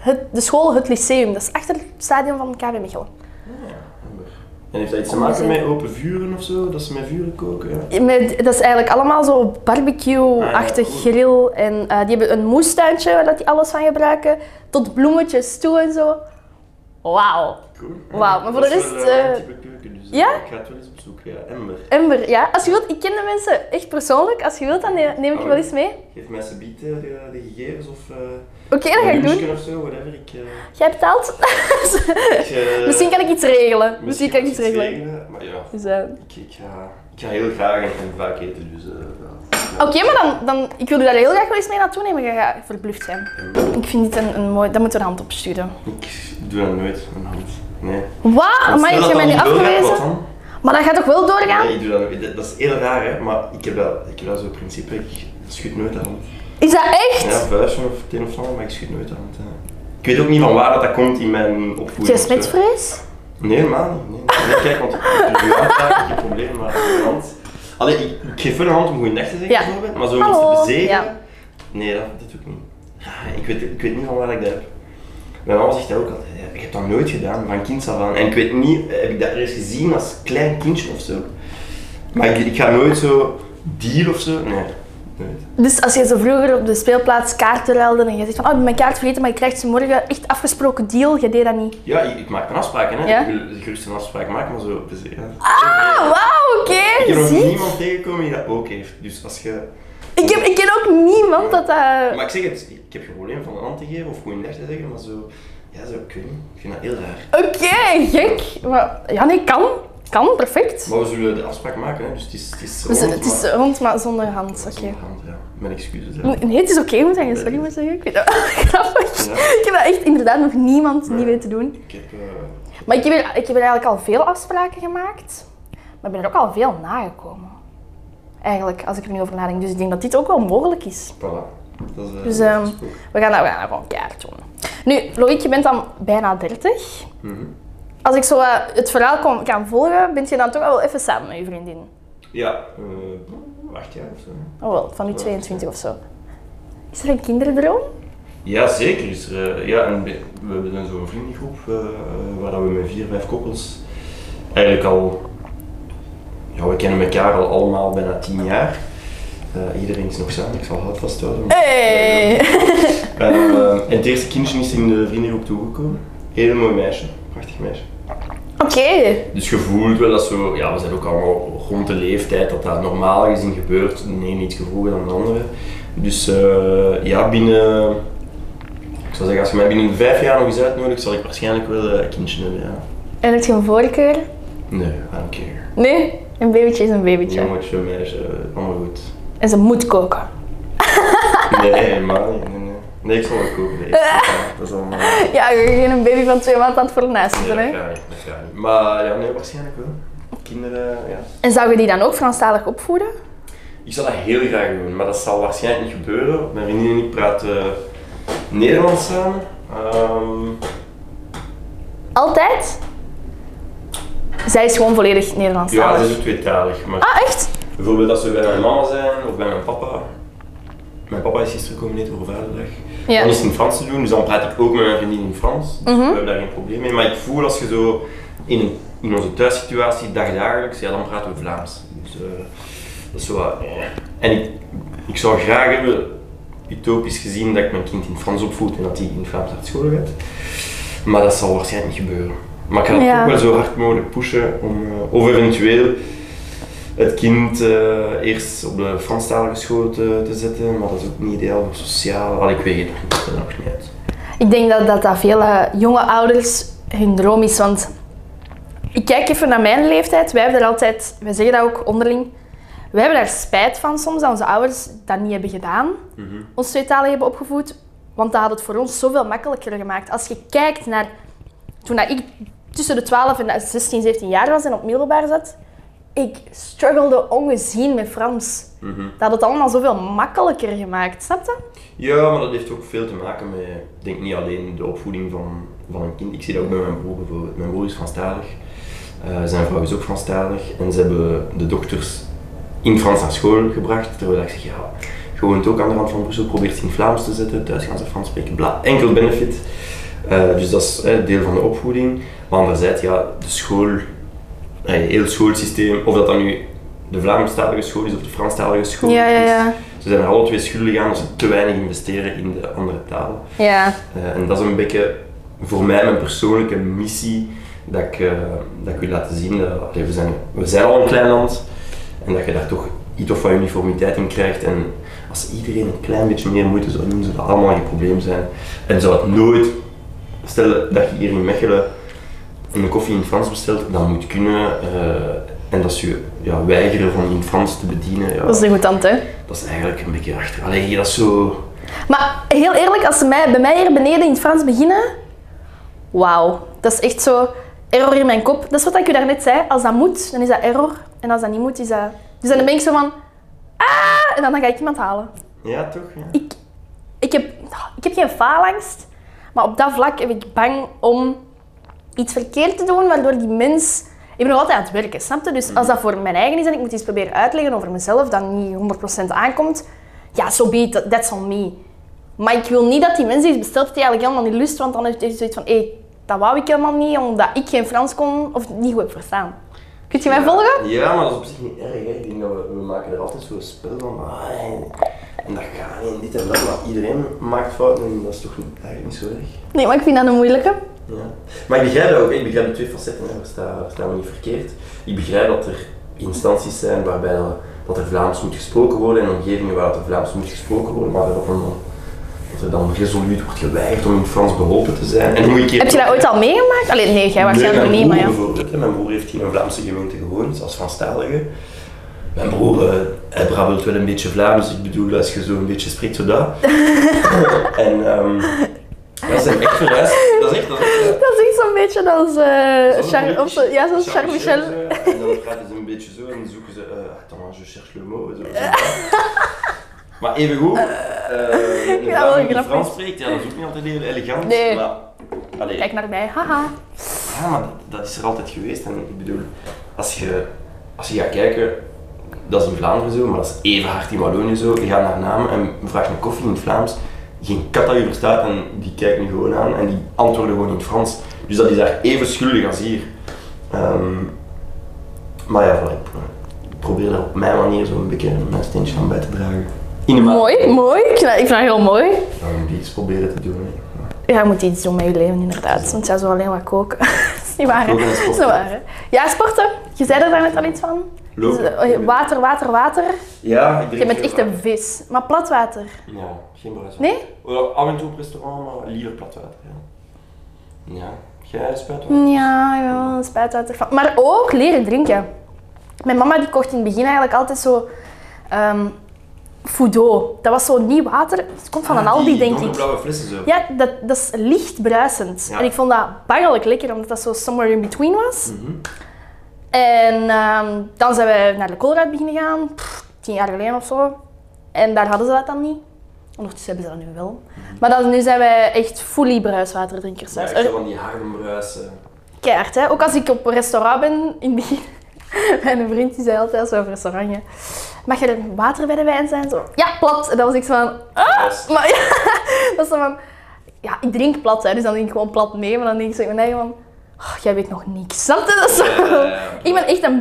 S2: het, de school, het lyceum. Dat is achter het stadion van KV Mechelen.
S1: Ah, En heeft dat iets te maken met open vuren of zo? Dat ze met vuren koken? Ja.
S2: Met, dat is eigenlijk allemaal zo barbecue-achtig
S1: Ah, ja, goed.
S2: grill. En eh, die hebben een moestuintje waar dat die alles van gebruiken. Tot bloemetjes toe en zo. Wauw.
S1: Cool.
S2: Wauw, maar voor de
S1: Dat is
S2: rest,
S1: wel, eh,
S2: eh,
S1: een type keuken, dus, eh,
S2: ja?
S1: Ik ga het wel eens op zoek, ja. Ember.
S2: Ember, ja. Als je wilt, ik ken de mensen echt persoonlijk. Als je wilt, dan ne- neem ik je wel eens mee.
S1: Geef mij alsjeblieft eh, de, de gegevens of eh
S2: Oké, dat ga
S1: een
S2: ik doen.
S1: lunchje of zo, whatever. Ik, eh,
S2: Jij betaalt.
S1: ik, eh,
S2: misschien kan ik iets regelen. Misschien kan ik
S1: moet
S2: iets regelen.
S1: regelen, Maar ja,
S2: Dus, eh,
S1: ik, ik, ga, ik ga heel graag en, en vaak eten, dus eh, ja.
S2: Oké, maar dan, dan, ik wil je daar heel graag wel eens mee naartoe nemen. Je gaat verbluft zijn. Ik vind dit een, een mooi... Daar moeten we een hand op sturen.
S1: Ik doe dat nooit, een hand. Nee.
S2: Wauw, maar
S1: Stel
S2: heb Ah, je
S1: dat
S2: mij
S1: dat
S2: niet
S1: doorgaat, wat
S2: afgewezen?
S1: dan?
S2: Maar dat gaat toch wel doorgaan?
S1: Nee, ik doe dat nog. Dat, dat is heel raar, hè? maar ik heb wel, ik heb wel zo'n principe. Ik schud nooit aan.
S2: Is dat echt?
S1: Ja, vuistje of het een of ander, maar ik schiet nooit aan het. eh. Ik weet ook niet van waar dat, dat komt in mijn opvoeding.
S2: Jij
S1: of zo.
S2: smetvrees?
S1: Nee, helemaal niet. Nee, nee. kijk, want ik heb je aanvraag, geen probleem, maar aan de hand. Allee, ik, ik geef wel een hand om goeiedag te zeggen,
S2: Ja.
S1: bijvoorbeeld, maar zo om
S2: Hallo.
S1: iets te bezegen.
S2: Ja.
S1: Nee, dat, dat doe ik niet. Ja, ik, weet, ik weet niet van waar ik dat heb. Mijn mama zegt dat ook altijd. ja, Ik heb dat nooit gedaan, van kinds af aan. En ik weet niet, heb ik dat ergens gezien als klein kindje of zo? Maar ik, ik ga nooit zo deal of zo. Nee, nooit.
S2: Dus als je zo vroeger op de speelplaats kaarten ruilde en je zegt van oh, ik ben mijn kaart vergeten, maar je krijgt ze morgen echt afgesproken deal, je deed dat niet.
S1: Ja, ik, ik maak een afspraak, hè.
S2: Ja?
S1: Ik wil gerust een afspraak maken, maar zo op de zee, hè.
S2: Ah, wauw, oké,
S1: Ik heb nog
S2: zie.
S1: niemand tegengekomen die dat ook heeft. Dus als je...
S2: Ik, heb, ik ken ook niemand dat dat...
S1: Maar ik zeg het, ik heb geen probleem van een hand te geven of goeiedag te zeggen, maar zo... Ja, zo, ik weet niet. Ik vind dat heel raar.
S2: Oké, gek. Maar, ja, nee, kan. Kan, perfect.
S1: Maar we zullen de afspraak maken, hè. Dus het is... Het is,
S2: Dus
S1: rond,
S2: het is
S1: maar-
S2: rond, maar zonder hand. Oké.
S1: Zonder hand, ja. Mijn excuses, hè.
S2: Nee, het is oké, moet ik je sorry maar zeggen. Ik vind dat wel grappig. Ik heb dat echt inderdaad nog niemand niet weten doen.
S1: Ik heb... eh,
S2: Maar ik heb, er, ik heb er eigenlijk al veel afspraken gemaakt. Maar ik ben er ook al veel nagekomen. Eigenlijk, als ik er nu over nadenk. Dus ik denk dat dit ook wel mogelijk is.
S1: voilà. Dat is... eh,
S2: Dus
S1: dat
S2: ehm,
S1: is goed.
S2: we gaan dat we gaan dat gewoon keihard doen. Nu, Loïc, je bent dan bijna 30.
S1: Mhm.
S2: Als ik zo eh, het verhaal kon, kan volgen, ben je dan toch al wel even samen met je vriendin.
S1: Ja. eh acht jaar of zo. hè.
S2: Oh wel, van nu 22 of zo. Is er een kinderdroom?
S1: Ja, zeker. Is er, eh, ja, en we we hebben dan zo'n vriendengroep eh, waar dat we met vier, vijf koppels eigenlijk al. Ja, we kennen elkaar al allemaal bijna tien jaar. Eh, iedereen is nog samen, ik zal het vasthouden.
S2: Hey!
S1: Eh, eh, en het eerste kindje is in de vriendengroep toegekomen. Heel mooi meisje, prachtig meisje.
S2: Oké.
S1: Dus je voelt wel dat zo, ja, we zijn ook allemaal rond de leeftijd dat dat normaal gezien gebeurt. De een iets vroeger dan de andere. Dus eh, ja, binnen, ik zou zeggen, als je mij binnen vijf jaar nog eens uitnodigt, zal ik waarschijnlijk wel eh, een kindje hebben. Ja.
S2: En heb je een voorkeur?
S1: Nee, I don't care.
S2: Nee, een babytje is een babytje.
S1: Jongetje, meisje, eh, allemaal goed.
S2: En ze moet koken.
S1: Nee, helemaal niet. Nee, nee. nee, ik zal wel koken. nee. Dat is allemaal. Nee,
S2: Ja, je bent een baby van twee maanden aan het voor de naast
S1: dat
S2: zitten, hè?
S1: gaat niet, dat gaat niet. Maar ja, nee, waarschijnlijk wel. Kinderen, ja.
S2: En zou je die dan ook Franstalig opvoeden?
S1: Ik zou dat heel graag doen, maar dat zal waarschijnlijk niet gebeuren. Mijn vriendin en ik praten Nederlands samen. Ehm,
S2: Altijd? Zij is gewoon volledig
S1: ja,
S2: Nederlandstalig.
S1: ze is ook tweetalig. Maar
S2: Ah, echt?
S1: bijvoorbeeld als we bij mijn mama zijn of bij mijn papa. Mijn papa is gisteren komen eten voor vaderdag.
S2: Ja.
S1: Dan is het in Frans te doen, dus dan praat ik ook met mijn vriendin in Frans. Dus we hebben daar geen probleem mee. Maar ik voel als je zo in, een- in onze thuissituatie dagdagelijks, ja, dan praten we Vlaams. Dus eh, dat is zo wat, eh. En ik, ik zou graag hebben, utopisch gezien, dat ik mijn kind in Frans opvoed en dat hij in Vlaams naar school gaat. Maar dat zal waarschijnlijk niet gebeuren. Maar ik ga het
S2: Ja.
S1: toch wel zo hard mogelijk pushen om, eh, of eventueel het kind eh, eerst op de Franstalige school te, te zetten, maar dat is ook niet ideaal voor sociaal. Al ik weet het nog niet, ik ben er nog niet uit.
S2: Ik denk dat dat, dat veel eh, jonge ouders hun droom is. Want ik kijk even naar mijn leeftijd. Wij hebben er altijd, wij zeggen dat ook onderling. Wij hebben daar spijt van soms dat onze ouders dat niet hebben gedaan. Ons twee talen hebben opgevoed. Want dat had het voor ons zoveel makkelijker gemaakt. Als je kijkt naar toen dat ik tussen de 12 en de 16, 17 jaar was en op middelbaar zat. Ik struggelde ongezien met Frans. Dat had het allemaal zoveel makkelijker gemaakt, snap je?
S1: Ja, maar dat heeft ook veel te maken met, ik denk niet alleen de opvoeding van, van een kind. Ik zie dat ook bij mijn broer bijvoorbeeld. Mijn broer is Franstalig, eh, zijn vrouw is ook Franstalig en ze hebben de dokters in Frans naar school gebracht. Terwijl ik zeg, ja, je woont ook aan de rand van Brussel, probeert ze in Vlaams te zetten, thuis gaan ze Frans spreken, bla, enkel benefit. Eh, dus dat is eh, deel van de opvoeding. Maar anderzijds, ja, de school, eh, heel het schoolsysteem, of dat dan nu de Vlaamstalige school is of de Franstalige school
S2: Ja, ja, ja.
S1: is, ze zijn er alle twee schuldig aan als ze te weinig investeren in de andere talen.
S2: Ja.
S1: Eh, en dat is een beetje voor mij mijn persoonlijke missie, dat ik, eh, dat ik wil laten zien dat allee, we, zijn, we zijn al een klein land en dat je daar toch iets of wat uniformiteit in krijgt. En als iedereen een klein beetje meer moeite zou doen, zou dat allemaal geen probleem zijn. En zou het nooit, stel dat je hier in Mechelen een koffie in Frans bestelt, dat moet kunnen. eh, en dat ze je ja, weigeren van in Frans te bedienen, ja,
S2: Dat is een goed tante, hè?
S1: dat is eigenlijk een beetje achter. Allee, dat is zo...
S2: Maar heel eerlijk, als ze mij, bij mij hier beneden in het Frans beginnen, wauw. Dat is echt zo. error in mijn kop. Dat is wat ik u daarnet zei. Als dat moet, dan is dat error. En als dat niet moet, is dat... Dus dan ben ik zo van... Ah! En dan ga ik iemand halen.
S1: Ja, toch? Ja.
S2: Ik, ik, heb, ik heb geen faalangst. Maar op dat vlak heb ik bang om iets verkeerd te doen, waardoor die mens... Ik ben nog altijd aan het werken, snap je? Dus als dat voor mijn eigen is en ik moet iets proberen uitleggen over mezelf dat niet 100% aankomt, ja, so be it, that's on me. Maar ik wil niet dat die mensen iets besteld die eigenlijk helemaal niet lust, want dan heeft hij zoiets van, hé, dat wou ik helemaal niet, omdat ik geen Frans kon of niet goed heb verstaan. Kun je mij volgen?
S1: Ja, maar dat is op zich niet erg. Hè. Ik denk dat we, we maken er altijd zo'n spel van. Ah, en, en dat gaat niet, en dit en dat. Maar iedereen maakt fouten en dat is toch niet, eigenlijk niet zo erg.
S2: Nee, maar ik vind dat een moeilijke.
S1: Ja. Maar ik begrijp dat ook, hè. ik begrijp de twee facetten, hè. versta, versta me niet verkeerd. Ik begrijp dat er instanties zijn waarbij dat, dat er Vlaams moet gesproken worden en omgevingen waar dat er Vlaams moet gesproken worden, maar dat, er dan, dat er dan resoluut wordt geweigerd om in het Frans beholpen te zijn. En dan moet ik hier-
S2: Heb je dat ooit al meegemaakt? Allee, nee, jij waarschijnlijk
S1: Nee,
S2: niet, maar
S1: mijn
S2: ja.
S1: broer bijvoorbeeld, hè. Mijn broer heeft hier in een Vlaamse gemeente gewoond, als Franstalige. Mijn broer, eh, hij brabbelt wel een beetje Vlaams, ik bedoel, als je zo een beetje spreekt, zo dat. en ehm, dat zijn echt verhuisd. Dat is echt, dat is echt
S2: Dat is echt zo'n beetje als... eh Char- of zo, ja, zoals Charles
S1: Charles
S2: Michel.
S1: eh, En dan praten ze een beetje zo en zoeken ze. eh attends, je cherche le mot. Zo, zo. Maar even goed. eh een
S2: vind dat wel
S1: vrouw die
S2: grappig.
S1: Frans spreekt, ja, dat is ook niet altijd heel elegant.
S2: Nee.
S1: Maar, allee,
S2: Kijk naar mij, haha.
S1: ja, maar dat- dat is er altijd geweest. En ik bedoel, als je, als je gaat kijken, dat is in Vlaanderen zo, maar dat is even hard in Wallonië zo. Je gaat naar Namen en vraagt een koffie in het Vlaams. Geen kat dat je verstaat en die kijkt nu gewoon aan en die antwoorden gewoon in het Frans. Dus dat is daar even schuldig als hier. Ehm, maar ja, voilà, ik pro- ik probeer daar op mijn manier zo'n beetje mijn steentje aan bij te dragen. In de ma-
S2: Mooi, mooi. Ik vind dat, ik vind dat heel mooi.
S1: Ik ga een iets proberen te doen. hè.
S2: Ja, je moet iets doen met je leven, inderdaad. Want jij zou alleen wat koken. dat is niet waar, hè?
S1: Koken en
S2: Dat is
S1: sporten.
S2: niet waar, hè? Ja, sporten. Je zei er daarnet al iets van.
S1: Lopen.
S2: Dus, eh, water, water, water.
S1: Ja, ik drink
S2: Je bent
S1: veel
S2: echt een vis. Maar plat water.
S1: Ja, geen bruiswater.
S2: Nee?
S1: Ja, af en toe op restaurant, maar liever plat water. Ja. ja. Jij spuit wel?
S2: Ja, ja, spuitwater. van- Maar ook leren drinken. Mijn mama die kocht in het begin eigenlijk altijd zo... ehm Foudo. Dat was zo nieuw water. Het komt
S1: Ah,
S2: van een Aldi, denk ik.
S1: blauwe flessen zo.
S2: Ja, dat, dat is licht bruisend.
S1: Ja.
S2: En ik vond dat bangelijk lekker, omdat dat zo somewhere in between was.
S1: Mhm.
S2: En ehm, dan zijn we naar de Colruyt beginnen gaan, pff, tien jaar geleden of zo. En daar hadden ze dat dan niet. Ondertussen hebben ze dat nu wel. Maar dan, nu zijn wij echt fully bruiswaterdrinkers.
S1: Mhm. Ja,
S2: thuis.
S1: ik zou
S2: Er-
S1: van die hardenbruis. eh,
S2: Keihard, hè. Ook als ik op een restaurant ben, in het begin... Mijn vriend die zei altijd, als we op restaurant gaan, mag je er water bij de wijn zijn? Zo, ja, plat. En dan was ik zo van,
S1: bruis.
S2: maar Ah! ja, dat is dan van... Ja, ik drink plat, hè, dus dan denk ik gewoon plat mee. Maar dan denk ik zo in mijn eigen van... "Oh, jij weet nog niks. Snap je? Dat is zo...
S1: Ja, ja, ja.
S2: Ik ben echt een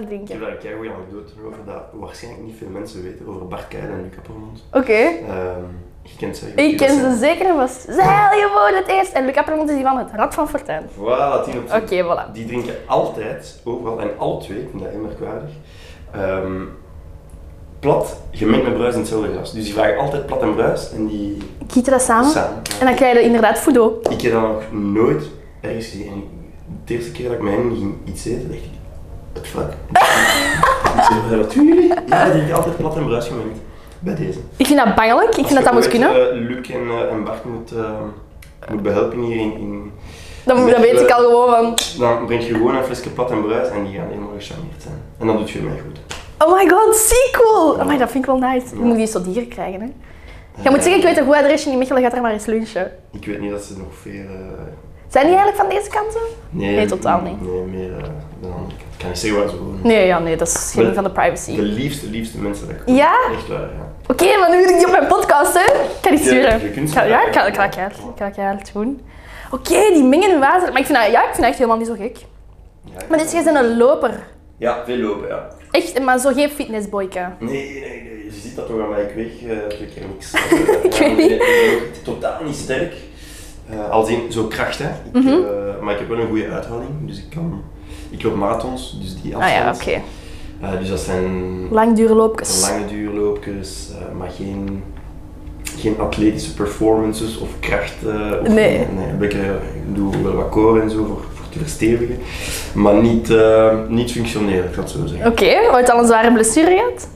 S1: Ik heb
S2: drinken.
S1: daar een keigoeie anekdote over dat waarschijnlijk niet veel mensen weten over Bart Keil en Luca Pormond.
S2: Oké.
S1: Ehm, je kent ze.
S2: Ik ken ze zeker en vast. Zeil je voor het eerst. En Luc Appermond is die van het Rad van Fortuin.
S1: Voilà, tien op
S2: Oké,
S1: tien.
S2: voilà.
S1: Die drinken altijd, overal en al twee, ik vind dat heel merkwaardig, ehm, plat gemengd met bruis in hetzelfde glas. Dus die vragen altijd plat en bruis en die
S2: Giet je dat samen.
S1: samen.
S2: En dan krijg je inderdaad Fudo.
S1: Ik heb dat nog nooit ergens gezien. En ik- de eerste keer dat ik mij ging iets eten, dacht ik, het fuck. ik zei, "Wat dat doen jullie? Ja, die drink altijd plat en bruis gemengd. Bij deze.
S2: Ik vind dat bangelijk. Ik vind dat dat moet kunnen.
S1: Luc en, eh, en Bart moet, eh, moet behelpen hier in, in...
S2: Dan, dan weet ik al gewoon van...
S1: Dan breng je gewoon een flesje plat en bruis en die gaan helemaal gecharmeerd zijn. En dat doet je mij goed.
S2: Oh my god, sequel! Oh my, dat vind ik wel nice. Je moet die zo dieren krijgen, hè. Je moet zeggen, ik weet een goed adresje in Mechelen, gaat er maar eens lunchen.
S1: Ik weet niet dat ze nog veel... eh,
S2: Zijn die eigenlijk van deze kanten?
S1: nee,
S2: Nee, totaal niet.
S1: Nee, meer eh, dan andere kant. Ik kan niet zeggen waar ze wonen.
S2: Nee, ja, nee, dat is geen van de privacy.
S1: De liefste, liefste mensen dat ik
S2: Ja?
S1: Echt waar, ja.
S2: Oké, maar nu wil ik die op mijn podcast, hè. Ik kan die
S1: Ja,
S2: sturen.
S1: je kunt ze
S2: Ga- ja,
S1: maken.
S2: ik ga, ik ga, ik ga, ik ga, ik ga het doen. Oké, die mengen in water. Maar ik vind dat, ja, ik vind dat echt helemaal niet zo gek.
S1: Ja, ik-
S2: Maar dit is bent een loper.
S1: Ja, veel lopen, ja.
S2: Echt, maar zo geen fitnessboyke.
S1: Nee, nee, nee, je ziet dat toch aan mij. Ik weeg eh, twee keer niks.
S2: Ik weet niet.
S1: Ik ben ook totaal niet sterk. Eh al zien, zo kracht, hè. Ik,
S2: Mhm.
S1: eh, maar ik heb wel een goede uithouding, dus ik kan... Ik loop marathons, dus die
S2: Ah
S1: afstand.
S2: ja, oké.
S1: Eh, dus dat zijn
S2: Langdure loopjes.
S1: lange duurloopjes, eh, maar geen, geen atletische performances of kracht. eh, of-
S2: Nee.
S1: een beetje- ik doe wel wat core en zo voor, voor te verstevigen, maar niet, eh, niet functioneel, ik ga het zo zeggen.
S2: Oké, ooit al een zware blessure gehad?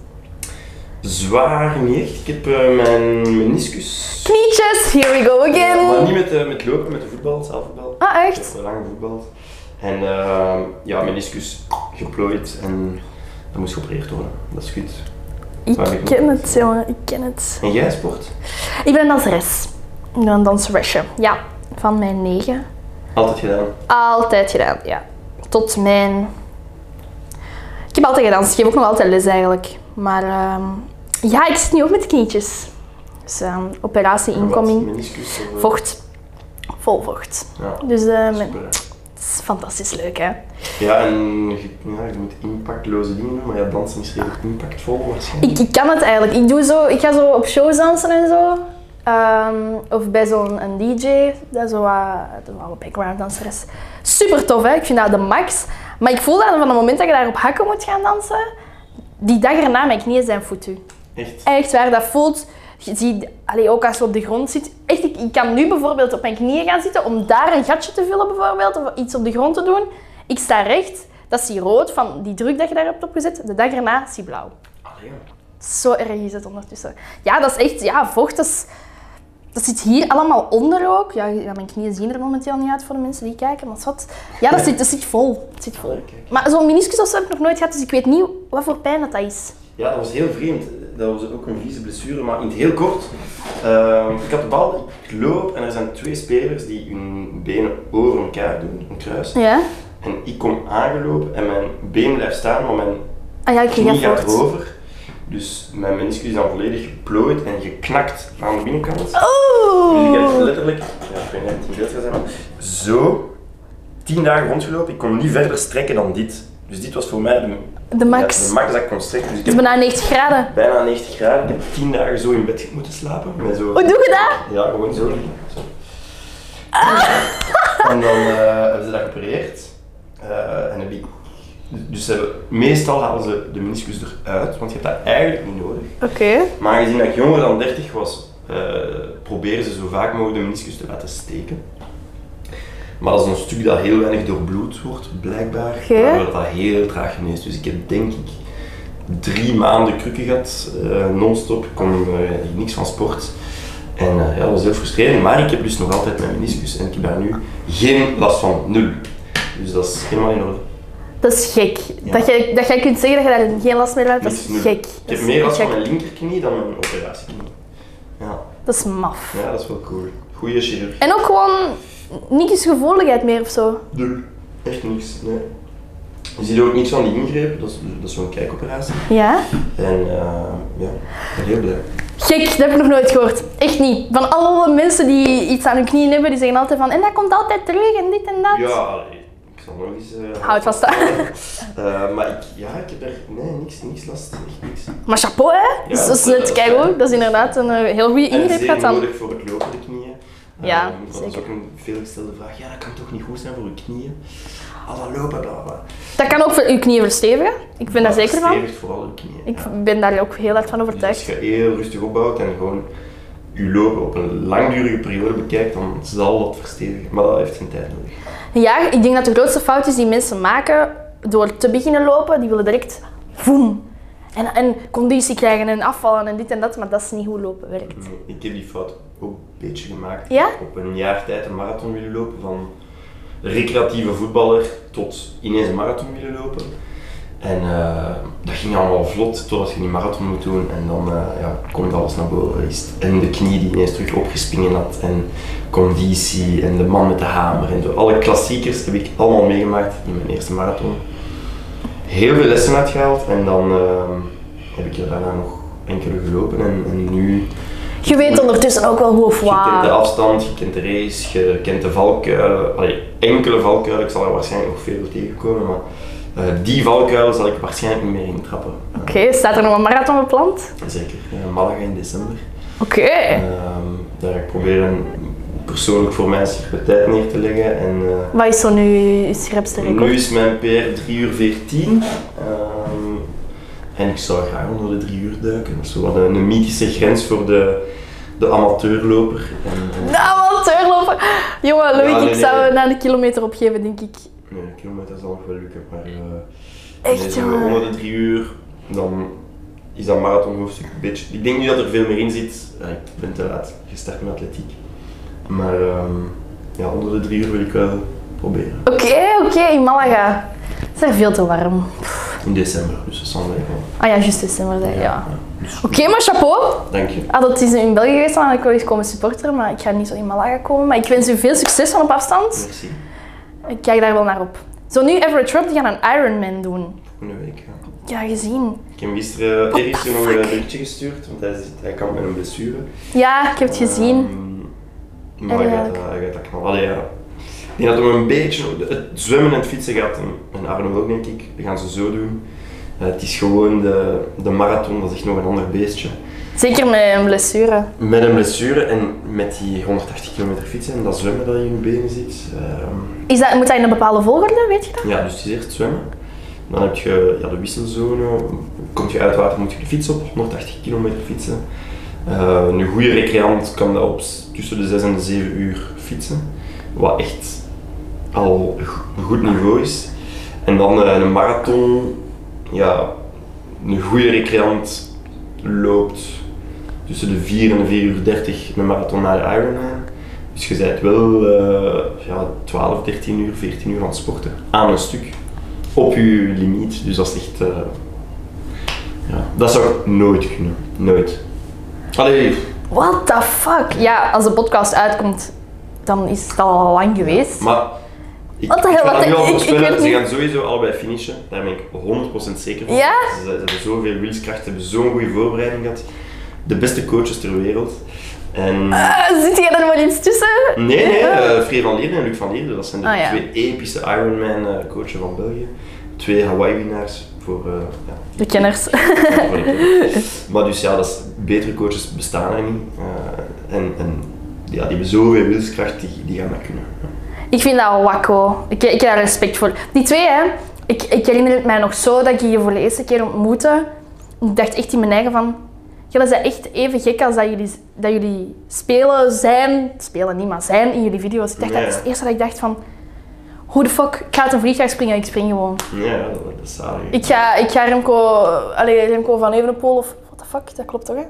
S1: Zwaar niet echt. Ik heb eh, mijn meniscus.
S2: Knietjes, here we go
S1: Ja, maar eh,
S2: again.
S1: niet met, eh, met lopen, met de voetbal, zelfvoetbal.
S2: Ah,
S1: Ik
S2: echt?
S1: heb lang gevoetbald. En ehm, ja, meniscus geplooid en dat moest geopereerd worden. Dat is goed. Waar
S2: Ik
S1: ik
S2: ken het, jongen. Ik ken het.
S1: En jij sport?
S2: Ik ben een danseres. Ik ben een danseresje. Ja, van mijn negen.
S1: Altijd gedaan.
S2: Altijd gedaan, ja. Tot mijn... Ik heb altijd gedanst. Ik geef ook nog altijd les eigenlijk. Maar ehm, ja, ik zit nu ook met knietjes. Dus ehm, operatie
S1: Wat,
S2: incoming.
S1: Meniscus? of, eh,
S2: Vocht. Vol vocht.
S1: Ja,
S2: Dus ehm,
S1: super.
S2: het is fantastisch leuk, hè.
S1: Ja, en je, ja, je moet impactloze dingen doen, maar ja, dansen is redelijk impactvol waarschijnlijk.
S2: Ik, ik kan het eigenlijk. Ik, doe zo, ik ga zo op shows dansen en zo. Ehm, of bij zo'n een DJ, dat is zo wat, dat is wel wat background danseres. Super tof, hè? ik vind dat de max. Maar ik voel dat van het moment dat je daar op hakken moet gaan dansen, die dag erna mijn knieën zijn foutu.
S1: Echt.
S2: Echt waar, dat voelt. Je ziet, allee, ook als je op de grond zit. Echt, ik, ik kan nu bijvoorbeeld op mijn knieën gaan zitten om daar een gatje te vullen, bijvoorbeeld, of iets op de grond te doen. Ik sta recht, dat is die rood van die druk dat je daar hebt opgezet. De dag erna is die blauw.
S1: Allee,
S2: Zo erg is het ondertussen. Ja, dat is echt, ja, vocht, dat, is- dat zit hier allemaal onder ook. Ja, ja, mijn knieën zien er momenteel niet uit voor de mensen die kijken, maar wat. Ja, dat zit, dat zit vol. Het zit vol.
S1: Allee, Ah, kijk.
S2: Maar zo'n meniscus of zo heb ik nog nooit gehad, dus ik weet niet wat voor pijn dat, dat is.
S1: Ja, dat was heel vreemd. Dat was ook een vieze blessure, maar in het heel kort. ehm, ik had de bal, ik loop en er zijn twee spelers die hun benen over elkaar doen, een kruis.
S2: Ja?
S1: En ik kom aangelopen en mijn been blijft staan, maar mijn
S2: Ah ja, ik
S1: knie
S2: kreeg dat
S1: gaat
S2: vocht.
S1: over. Dus mijn meniscus is dan volledig geplooid en geknakt aan de binnenkant.
S2: Oh.
S1: Dus ik heb
S2: Oeh!
S1: letterlijk, ja, ik weet niet of het in beeld gaat zijn, maar zo tien dagen rondgelopen. Ik kon niet verder strekken dan dit. Dus dit was voor mij de,
S2: De max.
S1: ja, de max dat ik kon strekken. Dus ik
S2: Het is
S1: heb
S2: bijna 90 graden.
S1: bijna 90 graden. Ik heb tien dagen zo in bed moeten slapen. Met zo,
S2: Hoe doe je dat?
S1: ja, gewoon zo. liggen. Zo. En dan eh, hebben ze dat geopereerd. Eh, en heb ik, dus ze hebben, meestal halen ze de meniscus eruit, want je hebt dat eigenlijk niet nodig.
S2: Oké.
S1: Maar aangezien dat ik jonger dan 30 was, eh proberen ze zo vaak mogelijk de meniscus te laten steken. Maar dat is een stuk dat heel weinig doorbloed wordt, blijkbaar.
S2: Oké.
S1: Waardoor dat heel traag geneest. Dus ik heb denk ik drie maanden krukken gehad, eh, non-stop. Ik kon eh, niks van sport. En eh, ja, dat was heel frustrerend. Maar ik heb dus nog altijd mijn meniscus en ik heb daar nu geen last van. Nul. Dus dat is helemaal in orde.
S2: Dat is gek.
S1: Ja.
S2: Dat, jij, dat jij kunt zeggen dat je daar geen last meer hebt, dat is
S1: Niks, nul.
S2: gek.
S1: Ik
S2: Dat
S1: heb
S2: is
S1: meer last
S2: gek.
S1: van mijn linkerknie dan mijn operatieknie. Ja.
S2: Dat is maf.
S1: Ja, dat is wel cool. Goeie chirurg.
S2: En ook gewoon niet eens gevoeligheid meer of zo.
S1: Nul. Echt niks, nee. Je ziet ook niks van die ingreep, dat is, dat is zo'n kijkoperatie.
S2: Ja?
S1: En eh, ja, ik ben heel blij.
S2: Gek, dat heb ik nog nooit gehoord. Echt niet. Van alle mensen die iets aan hun knieën hebben, die zeggen altijd van en dat komt altijd terug en dit en dat.
S1: Ja, allee, ik zal nog eens... eh,
S2: Houd vast aan.
S1: Eh, maar ik, ja, ik heb er nee, niks, niks last, echt niks.
S2: Maar chapeau, hè? Dus dat is
S1: dat
S2: net
S1: is
S2: keigoed.
S1: fijn.
S2: Dat is inderdaad een eh, heel goede
S1: En
S2: ingreep.
S1: zeer
S2: gaat dan.
S1: nodig voor het lopen, de knieën. Eh,
S2: Ja,
S1: want dat is
S2: zeker.
S1: ook een veelgestelde vraag. Ja, dat kan toch niet goed zijn voor je knieën? Al dat lopen, bla bla, bla.
S2: Dat kan ook voor uw knieën verstevigen. Ik
S1: Ah,
S2: ben daar zeker van.
S1: Stevig vooral je knieën. ja.
S2: Ik ben daar ook heel hard van
S1: Dus als
S2: overtuigd.
S1: je heel rustig opbouwt en gewoon je lopen op een langdurige periode bekijkt, dan zal dat verstevigen. Maar dat heeft geen tijd nodig.
S2: Ja, ik denk dat de grootste fout is die mensen maken door te beginnen lopen. Die willen direct voem. En, en conditie krijgen en afvallen en dit en dat. Maar dat is niet hoe lopen werkt.
S1: Ik heb die fout ook een beetje gemaakt.
S2: Ja?
S1: Op een jaar tijd een marathon willen lopen, van recreatieve voetballer tot ineens een marathon willen lopen. En eh, dat ging allemaal vlot totdat je die marathon moet doen en dan eh, ja, komt alles naar boven. Is het- En de knie die ineens terug opgespringen had en conditie en de man met de hamer en zo. Alle klassiekers heb ik allemaal meegemaakt in mijn eerste marathon. Heel veel lessen uitgehaald en dan eh, heb ik er daarna nog enkele gelopen en, en nu
S2: Je weet ondertussen ook wel hoe of
S1: je kent de
S2: waar.
S1: afstand, je kent de race, je kent de valkuilen. Allee, enkele valkuilen, ik zal er waarschijnlijk nog veel tegenkomen, maar eh, die valkuilen zal ik waarschijnlijk niet meer intrappen. trappen.
S2: Oké, staat er nog een marathon gepland?
S1: Zeker, eh, Malaga in december.
S2: Oké.
S1: Ehm, daar ga ik proberen persoonlijk voor mij een circuit tijd neer te leggen. En, eh,
S2: Wat is zo nu je scherpste
S1: nu
S2: record?
S1: is mijn PR 3 uur 14. Ehm, en ik zou graag onder de 3 uur duiken. Dat is zo wat een, een mythische grens voor de, de amateurloper. En, en-
S2: De amateurlopen! Nou, Jongen, Loïc,
S1: Ja, nee,
S2: ik
S1: nee,
S2: zou
S1: nee.
S2: na de kilometer opgeven, denk ik.
S1: Nee, een kilometer zal nog wel lukken, maar... eh,
S2: Echt,
S1: nee, zijn we
S2: jongen.
S1: onder de drie uur, dan is dat marathonhoofdstuk een beetje... Ik denk nu dat er veel meer in zit. Ja, ik ben te laat gestart met atletiek. Maar ehm, ja, onder de drie uur wil ik wel proberen.
S2: Oké, oké, in Malaga. Het is daar veel te warm.
S1: In december, dus dat is wel leuk. hè.
S2: Ah ja, juist december, zei je, ja.
S1: Dus,
S2: Oké, maar chapeau.
S1: dank je.
S2: Had het is in België geweest, dan had ik wel eens komen supporteren, maar ik ga niet zo in Malaga komen. Maar ik wens u veel succes van op afstand.
S1: Merci.
S2: Ik kijk daar wel naar op. Zo nu, Everett Trump, die gaan een Ironman doen.
S1: Volgende week. Ja.
S2: Ja, gezien.
S1: Ik heb hem gisteren Erik zo nog een berichtje gestuurd, want hij, zit, hij kampt met een blessure.
S2: Ja, ik heb het gezien.
S1: Ehm, maar hij gaat, dat- hij gaat dat knallen. Allee, ja. Ik denk dat hem een beetje... Het zwemmen en het fietsen gaat hem, en Arno ook, denk ik, dat gaan ze zo doen. Eh, het is gewoon de, de marathon, dat is echt nog een ander beestje.
S2: Zeker met een blessure.
S1: Met een blessure en met die 180 kilometer fietsen en dat zwemmen dat je in je benen zit. ehm,
S2: Is dat, moet dat in een bepaalde volgorde, weet je dat?
S1: ja, dus het is eerst zwemmen. Dan heb je ja, de wisselzone. Kom je uit water, moet je de fiets op, 180 kilometer fietsen. Eh, een goede recreant kan dat op s- tussen de 6 en de 7 uur fietsen. Wat echt al go- een goed niveau is. En dan eh, een marathon. Ja, een goede recreant loopt tussen de 4 en de 4 uur 30 een marathon naar de Ironman. Dus je bent wel eh, ja, 12, 13 uur, 14 uur aan het sporten. Aan een stuk. Op je limiet. Dus dat is echt. eh, ja. Dat zou ik nooit kunnen. Nooit. Allee,
S2: What the fuck? Ja, als de podcast uitkomt, dan is het al lang geweest.
S1: maar. Ik,
S2: Wat de
S1: ik
S2: hel,
S1: kan
S2: wat
S1: dat nu
S2: ik-
S1: al
S2: ik- ik
S1: voorspellen,
S2: weet
S1: Ze
S2: niet.
S1: gaan sowieso allebei finishen. Daar ben ik 100% zeker van.
S2: Ja?
S1: Ze, ze hebben zoveel wilskracht, hebben zo'n goede voorbereiding gehad. De beste coaches ter wereld. En.
S2: Ah, zit hier dan wel iets tussen?
S1: Nee, nee, eh Free van Lierde en Luc van Lierde, dat zijn de
S2: Ah, ja.
S1: twee epische Ironman-coachen van België. Twee Hawaii-winnaars voor, eh, ja,
S2: De kenners.
S1: voor de ploeg. Maar dus ja, dat is, betere coaches bestaan er niet. eh, en en ja, die hebben zoveel wilskracht, die, die gaan dat kunnen.
S2: Ik vind dat wakko. Ik, ik heb daar respect voor. Die twee, hè. Ik, ik herinner het mij nog zo dat ik je voor de eerste keer ontmoette. Ik dacht echt in mijn eigen van... Jullie zijn echt even gek als dat jullie, dat jullie spelen, zijn... Spelen niet, maar zijn in jullie video's. Ik dacht,
S1: Ja.
S2: dat is het eerste dat ik dacht van... Hoe de fuck? Ik ga uit een vliegtuig springen en ik spring gewoon.
S1: Ja, ja, dat, dat is zalig.
S2: Ik ga, ik ga Remco... Allee, Remco van Evenepoel of... What the fuck? Dat klopt toch, hè?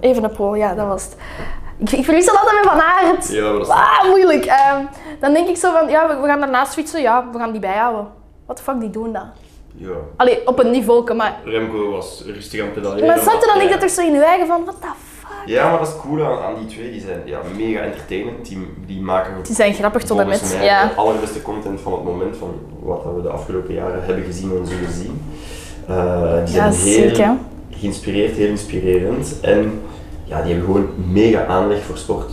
S2: Evenepoel, ja, dat was het. Ik, ik verlies dat altijd met Van Aert.
S1: Ja, maar dat is...
S2: Ah, moeilijk. Ehm, dan denk ik zo van, ja, we, we gaan daarnaast fietsen. Ja, we gaan die bijhouden. Wat de fuck, die doen dat?
S1: Ja.
S2: Allee, op een niveau, maar...
S1: Remco was rustig aan het pedaleren.
S2: Maar snapte dan
S1: hij-
S2: ik dat er zo in je eigen van, what the fuck?
S1: Ja, maar dat is cool aan, aan die twee. Die zijn ja, mega entertainend. Die, die maken
S2: Die zijn grappig tot en
S1: volgens
S2: met,
S1: mij
S2: ja.
S1: de allerbeste content van het moment, van wat dat we de afgelopen jaren hebben gezien en zullen zien. Eh, die
S2: Ja,
S1: zijn heel
S2: ziek, hè?
S1: geïnspireerd, heel inspirerend en ja, die hebben gewoon mega aanleg voor sport.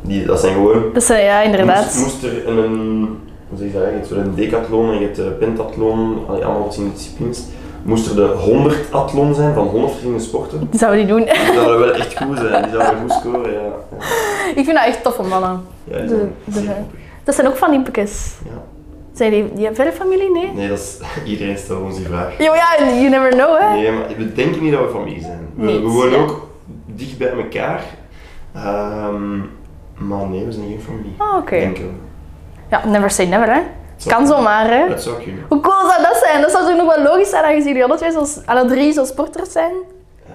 S1: Die, dat zijn gewoon...
S2: Dus eh, ja, inderdaad.
S1: Moest, moest er een- een... Hoe zeg je dat eigenlijk? Je hebt een decathlon en je hebt de pentathlon, allee, allemaal verschillende disciplines. Moest er de 100 athlon zijn van 100 verschillende sporten,
S2: Die zouden die doen.
S1: die zouden wel echt goed zijn. Die zouden goed scoren, ja. ja.
S2: ik vind dat echt toffe mannen.
S1: Ja, die
S2: De-
S1: zijn
S2: de-
S1: zeer grappig.
S2: Dat zijn ook van impekes.
S1: Ja.
S2: Zijn die, die verre familie? Nee?
S1: Nee, dat is, iedereen stelt ons die vraag.
S2: Jo, ja, you never know, hè?
S1: Nee, maar we denken niet dat we familie zijn. We, we
S2: Niet,
S1: wonen
S2: ja.
S1: ook dicht bij elkaar. Ehm, maar nee, we zijn geen familie.
S2: Ah, oké.
S1: Denken we.
S2: Ja, never say never, hè?
S1: Het zou
S2: Kan
S1: kunnen.
S2: zomaar, hè?
S1: Het zou kunnen.
S2: Hoe cool zou dat zijn? Dat zou toch nog wel logisch zijn, aangezien jullie alle twee, zoals, alle drie, zo sporters zijn?
S1: Eh,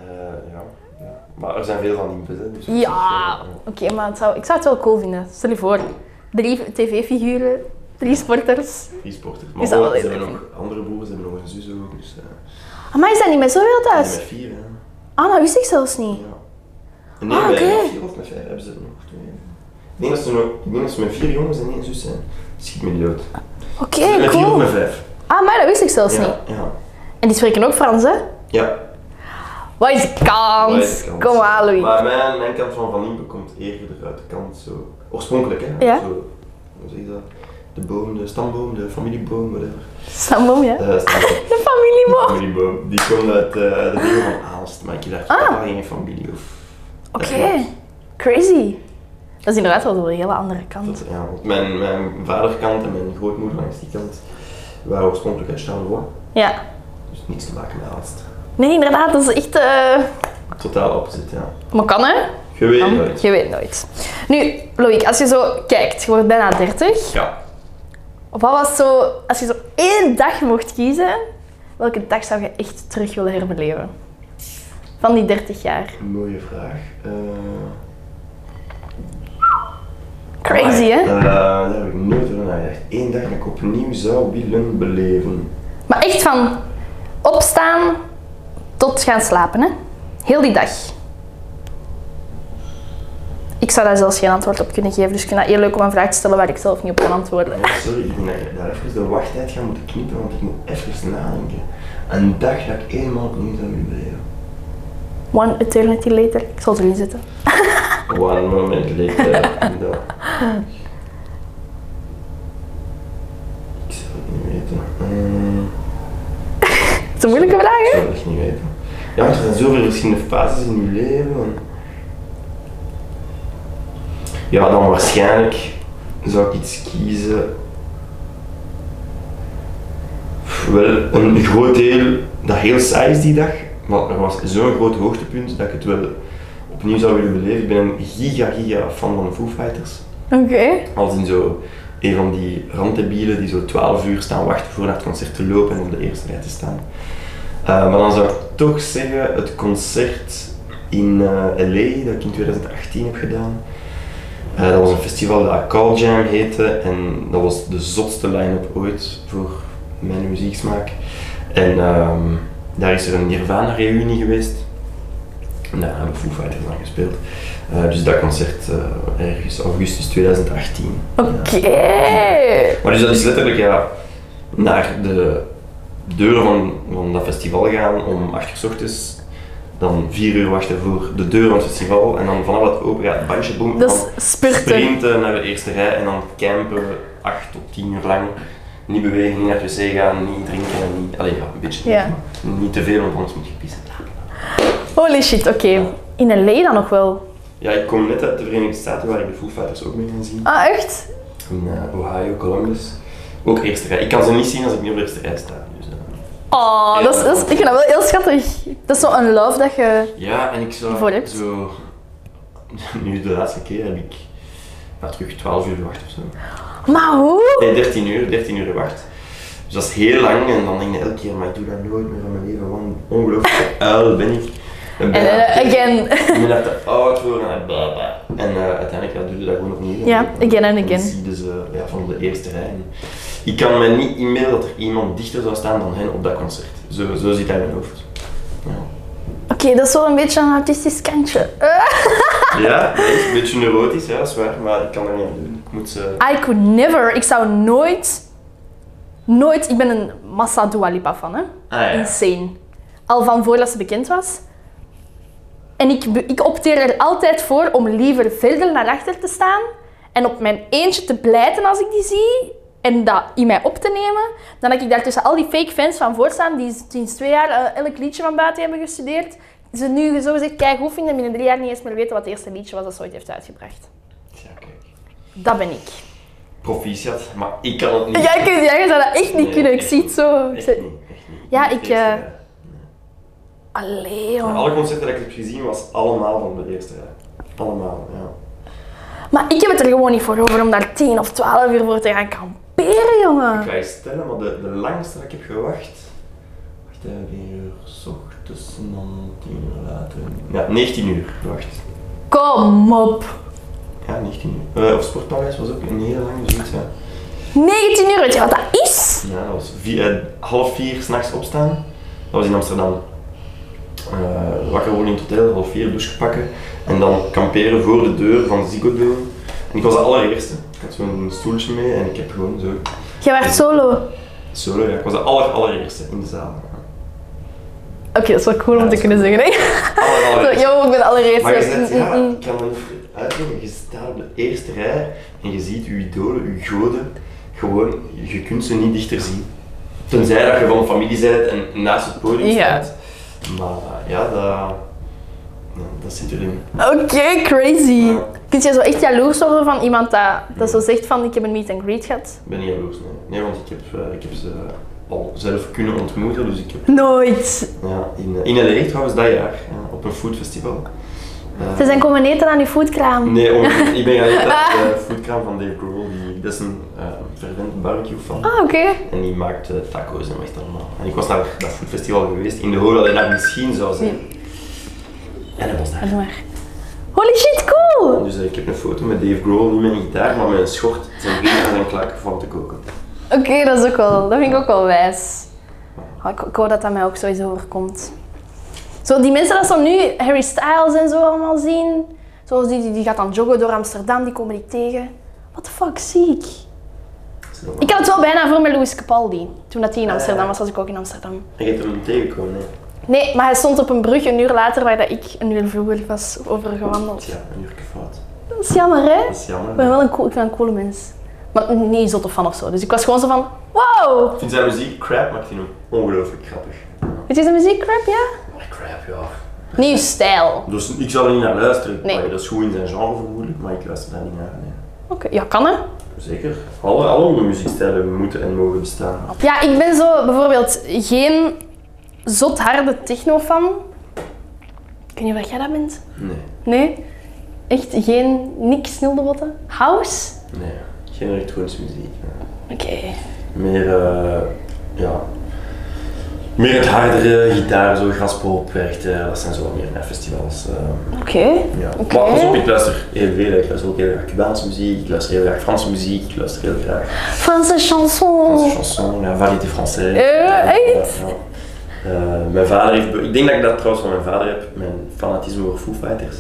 S1: ja, ja. Maar er zijn veel van die bezet. Dus
S2: Ja, oké, maar het zou, ik zou het wel cool vinden. Stel je voor, drie tv-figuren, drie sporters.
S1: Die sporter.
S2: Is
S1: eh, Maar
S2: dat
S1: wel,
S2: wel
S1: ze hebben
S2: leuk?
S1: nog andere broers, ze hebben nog een zus ook. Dus, eh,
S2: Maar is dat niet met zoveel
S1: en
S2: thuis?
S1: met vier, hè.
S2: Ah, dat wist ik zelfs niet.
S1: Ja. En nee,
S2: Ah,
S1: bij-
S2: oké.
S1: met vier of met vijf hebben ze er nog twee. Ik denk dat ze, nog, ik denk dat ze met vier jongens en één zus zijn. Schiet me niet dood.
S2: Oké,
S1: met vier of
S2: cool.
S1: met vijf.
S2: Ah, maar dat wist ik zelfs niet.
S1: Ja, ja.
S2: En die spreken ook Frans, hè?
S1: ja.
S2: Wat is de kans?
S1: Wijde kant.
S2: Kom aan, Louis.
S1: Maar mijn, mijn kant van Van Impe komt eerder uit de kant zo. Oorspronkelijk, hè?
S2: Ja.
S1: Zo, hoe zeg je dat? De boom, de stamboom, de familieboom, whatever.
S2: Samboom, ja?
S1: Eh, stamboom.
S2: De familieboom.
S1: familieboom. Die komt uit eh, de regio van Aalst, maar ik heb daar totaal geen familie of.
S2: Ah. Oké, crazy. Dat is inderdaad wel een hele andere kant.
S1: Dat, ja, want mijn, mijn vaderkant en mijn grootmoeder langs die kant waren oorspronkelijk uit Charleroi.
S2: Ja.
S1: Dus niks te maken met Aalst.
S2: Nee, inderdaad, dat is echt... eh,
S1: Totaal opposite, ja.
S2: Maar kan, hè?
S1: Je weet
S2: Kan.
S1: nooit.
S2: Je weet nooit. Nu, Loïc, als je zo kijkt, je wordt bijna 30.
S1: Ja.
S2: Wat was zo, als je zo één dag mocht kiezen, welke dag zou je echt terug willen herbeleven? Van die 30 jaar.
S1: Mooie vraag. Eh,
S2: Crazy, hè?
S1: Eh, daar heb ik nooit over nagedacht. Eén dag dat ik opnieuw zou willen beleven.
S2: Maar echt van opstaan tot gaan slapen, hè? Heel die dag. Ik zou daar zelfs geen antwoord op kunnen geven, dus ik vind dat heel leuk om een vraag te stellen waar ik zelf niet op kan antwoorden.
S1: Ja, Oh, sorry, ik denk dat ik daar even de wachttijd ga moeten knippen, want ik moet even nadenken. Een dag dat ik eenmaal opnieuw zou willen beleven.
S2: One eternity later. Ik zal het erin zetten.
S1: One moment later. inderdaad. Ik zou het niet weten. Mm,
S2: Het is een moeilijke vraag,
S1: ik
S2: hè?
S1: zou het echt niet weten. Ja, want er zijn zoveel verschillende fases in je leven. Ja, dan waarschijnlijk zou ik iets kiezen. Wel, een groot deel dat heel saai is die dag, maar er was zo'n groot hoogtepunt dat ik het wel opnieuw zou willen beleven. Ik ben een giga giga fan van de Foo Fighters.
S2: Oké.
S1: Als in zo een van die randebielen die zo 12 uur staan wachten voor naar het concert te lopen en op de eerste rij te staan. Eh, maar dan zou ik toch zeggen het concert in eh LA dat ik in 2018 heb gedaan. Eh, dat was een festival dat Call Jam heette en dat was de zotste line-up ooit voor mijn muzieksmaak. En ehm, daar is er een Nirvana-reunie geweest. En daar hebben Foo Fighters aan gespeeld. Eh, dus dat concert eh, ergens augustus 2018.
S2: Oké.
S1: Maar dus dat is letterlijk ja, naar de deuren van, van dat festival gaan om 8 uur s ochtends. Dan 4 uur wachten voor de deur van het festival. En dan vanaf dat het open gaat, bandje boom.
S2: Dat
S1: dan
S2: is eh, spurten.
S1: sprinten naar de eerste rij en dan campen 8 tot 10 uur lang. Niet bewegen, niet naar het wc gaan, niet drinken. Niet, allee, ja, een beetje.
S2: Ja.
S1: drinken. Niet te veel, want anders moet je pissen.
S2: Holy shit, oké. In LA dan nog wel.
S1: Ja, ik kom net uit de Verenigde Staten waar ik de Foo Fighters ook mee kan zien.
S2: Ah, echt?
S1: In eh, Ohio, Columbus. Ook eerste rij. Ik kan ze niet zien als ik niet op de eerste rij sta. Dus, eh.
S2: Oh, dat is, dat is- ik vind dat wel heel schattig. Dat is zo'n love dat je...
S1: Ja, en ik zou
S2: Voor hebt.
S1: zo... Nu de laatste keer heb ik nou, terug 12 uur gewacht of zo.
S2: Maar hoe?
S1: Nee, 13 uur, 13 uur gewacht. Dus dat is heel lang en dan denk je elke keer, maar ik doe dat nooit meer van mijn leven, wat een ongelooflijke uil ben ik. En
S2: En eh, again.
S1: Ik ben daar te oud voor en bla bla. En eh, uiteindelijk ja, doe je dat gewoon opnieuw.
S2: Ja, again and
S1: En dan
S2: again.
S1: zie je ze ja, van de eerste rij. En ik kan me niet inbeelden dat er iemand dichter zou staan dan hen op dat concert. Zo, zo zit hij in mijn hoofd.
S2: Oké, dat is wel een beetje een autistisch kantje. Eh,
S1: Ja, dat is een beetje neurotisch, ja, dat is waar, maar ik kan er niet aan doen. Ik moet eh, ze...
S2: I could never. Ik zou nooit... Nooit... Ik ben een massa Dua Lipa fan, hè.
S1: Ah ja.
S2: Insane. Al van voordat ze bekend was. En ik, be- ik opteer er altijd voor om liever verder naar achter te staan en op mijn eentje te blijten als ik die zie en dat in mij op te nemen, dan dat ik daar tussen al die fake fans van voorstaan die sinds twee jaar eh, elk liedje van buiten hebben gestudeerd, ze nu zo gezegd kijk hoe vinden en binnen drie jaar niet eens meer weten wat het eerste liedje was dat ze ooit heeft uitgebracht.
S1: Ja, kijk.
S2: Dat ben ik.
S1: Proficiat, maar ik kan het niet.
S2: Jij, kunt, jij zou dat echt niet
S1: Nee,
S2: kunnen, ik
S1: echt
S2: zie het zo. Ik
S1: Echt
S2: zeg,
S1: niet, echt niet.
S2: Ja,
S1: Niet
S2: ik,
S1: de eerste
S2: eh,
S1: rij.
S2: Allee, joh.
S1: Alle concerten dat ik heb gezien was allemaal van de eerste rij. Allemaal, ja.
S2: Maar ik heb het er gewoon niet voor over om daar 10 of 12 uur voor te gaan kamperen, jongen.
S1: Ik ga je stellen, maar de, de langste dat ik heb gewacht. Wacht even, 1 uur s ochtends en dan 10 uur later. Ja, 19 uur gewacht.
S2: Kom op.
S1: Ja, 19 uur. Eh, of Sportpaleis was ook een hele lange zoiets, ja.
S2: 19 uur, weet je wat dat is?
S1: Ja, dat was vier, eh, half vier s'nachts opstaan. Dat was in Amsterdam. Eh, wakker worden in het hotel, half vier douche pakken en dan kamperen voor de deur van Ziggo Dome. En ik was de allereerste. Ik had zo'n stoeltje mee en ik heb gewoon zo
S2: Jij werd solo. Oké,
S1: solo. Ja, ik was de aller, allereerste in de zaal.
S2: dat is wel cool om te kunnen zeggen, hè?
S1: Aller,
S2: Zo,
S1: allereerste.
S2: Yo, ik ben allereerst.
S1: Oh, Maar je zet,
S2: Mm, mm,
S1: ja,
S2: mm.
S1: ik kan het niet uitleggen. Je staat op de eerste rij en je ziet je idolen, je goden, gewoon, je kunt ze niet dichter zien. Tenzij dat je van familie bent en naast het podium
S2: Ja.
S1: staat. Maar eh, ja, dat, ja, dat zit erin.
S2: Oké, crazy. Kun je zo echt jaloers worden van iemand dat, dat zo zegt van ik heb een meet and greet gehad?
S1: Ik ben niet jaloers, nee. Nee, want ik heb, eh, ik heb ze al zelf kunnen ontmoeten, dus ik heb
S2: Nooit.
S1: ja, in, eh, in LA trouwens dat jaar, ja, op een foodfestival. Eh,
S2: Ze zijn komen eten aan uw foodkraam.
S1: Nee, om, ik ben gaan eten uit de foodkraam van Dave Grohl, die, dat is een eh fervent barbecue fan.
S2: Ah, oké.
S1: En die maakt eh, taco's en echt allemaal. En ik was naar dat foodfestival geweest in de hoop dat hij daar misschien zou zijn. En dat was daar.
S2: Doe maar. Holy shit, cool! wel.
S1: Dus eh, ik heb een foto met Dave Grohl, niet met een gitaar, maar met een schort, zijn vrienden en zijn klakken van te koken.
S2: Oké, dat is ook wel, dat vind ik ook wel wijs. Ah, Ik, ik hoop dat dat mij ook sowieso overkomt. Zo, die mensen dat zo nu Harry Styles en zo allemaal zien, zoals die, die, die gaat dan joggen door Amsterdam, die komen die tegen. What the fuck, zie ik? Ik had het wel bijna voor met Louis Capaldi, toen dat hij in Amsterdam was, was ik ook in Amsterdam.
S1: Ik heb hem tegengekomen, nee.
S2: Nee, maar hij stond op een brug een uur later waar dat ik een uur vroeger was overgewandeld.
S1: Ja, een uurtje fout.
S2: Dat is jammer, hè?
S1: Dat is jammer.
S2: Ik ben wel een, cool, ik ben een coole mens. Maar niet zo tof van of zo. Dus ik was gewoon zo van, wow!
S1: Ik vind zijn muziek crap, maar ik vind hem ongelooflijk grappig.
S2: Het is een muziekcrap, ja?
S1: Maar crap, ja.
S2: Nieuw stijl.
S1: Dus ik zal er niet naar luisteren.
S2: Nee.
S1: Maar dat is goed in zijn genre vermoedelijk, maar ik luister daar niet naar. Nee.
S2: Oké, ja, kan hè?
S1: Zeker. Alle, alle andere muziekstijlen moeten en mogen bestaan.
S2: Ja, ik ben zo bijvoorbeeld geen zot harde techno-fan. Ik weet niet waar jij dat bent.
S1: Nee,
S2: Nee? Echt geen niks botten. House?
S1: nee. Geen elektronische muziek. nee.
S2: Oké.
S1: Meer, eh, ja. Meer het hardere gitaar, zo graspop, echt, eh, dat zijn zo wat meer naar festivals. eh,
S2: Oké.
S1: ja.
S2: Oké.
S1: Maar pas op, ik luister heel veel. Ik luister ook heel graag Cubaanse muziek, ik luister heel graag Franse muziek, ik luister heel graag
S2: Franse
S1: Franse
S2: chanson.
S1: chanson, ja, variété française.
S2: Oh. Eh,
S1: Ja,
S2: echt?
S1: ja, ja. Eh, mijn vader heeft, be- ik denk dat ik dat trouwens van mijn vader heb, mijn fanatisme voor Foo Fighters.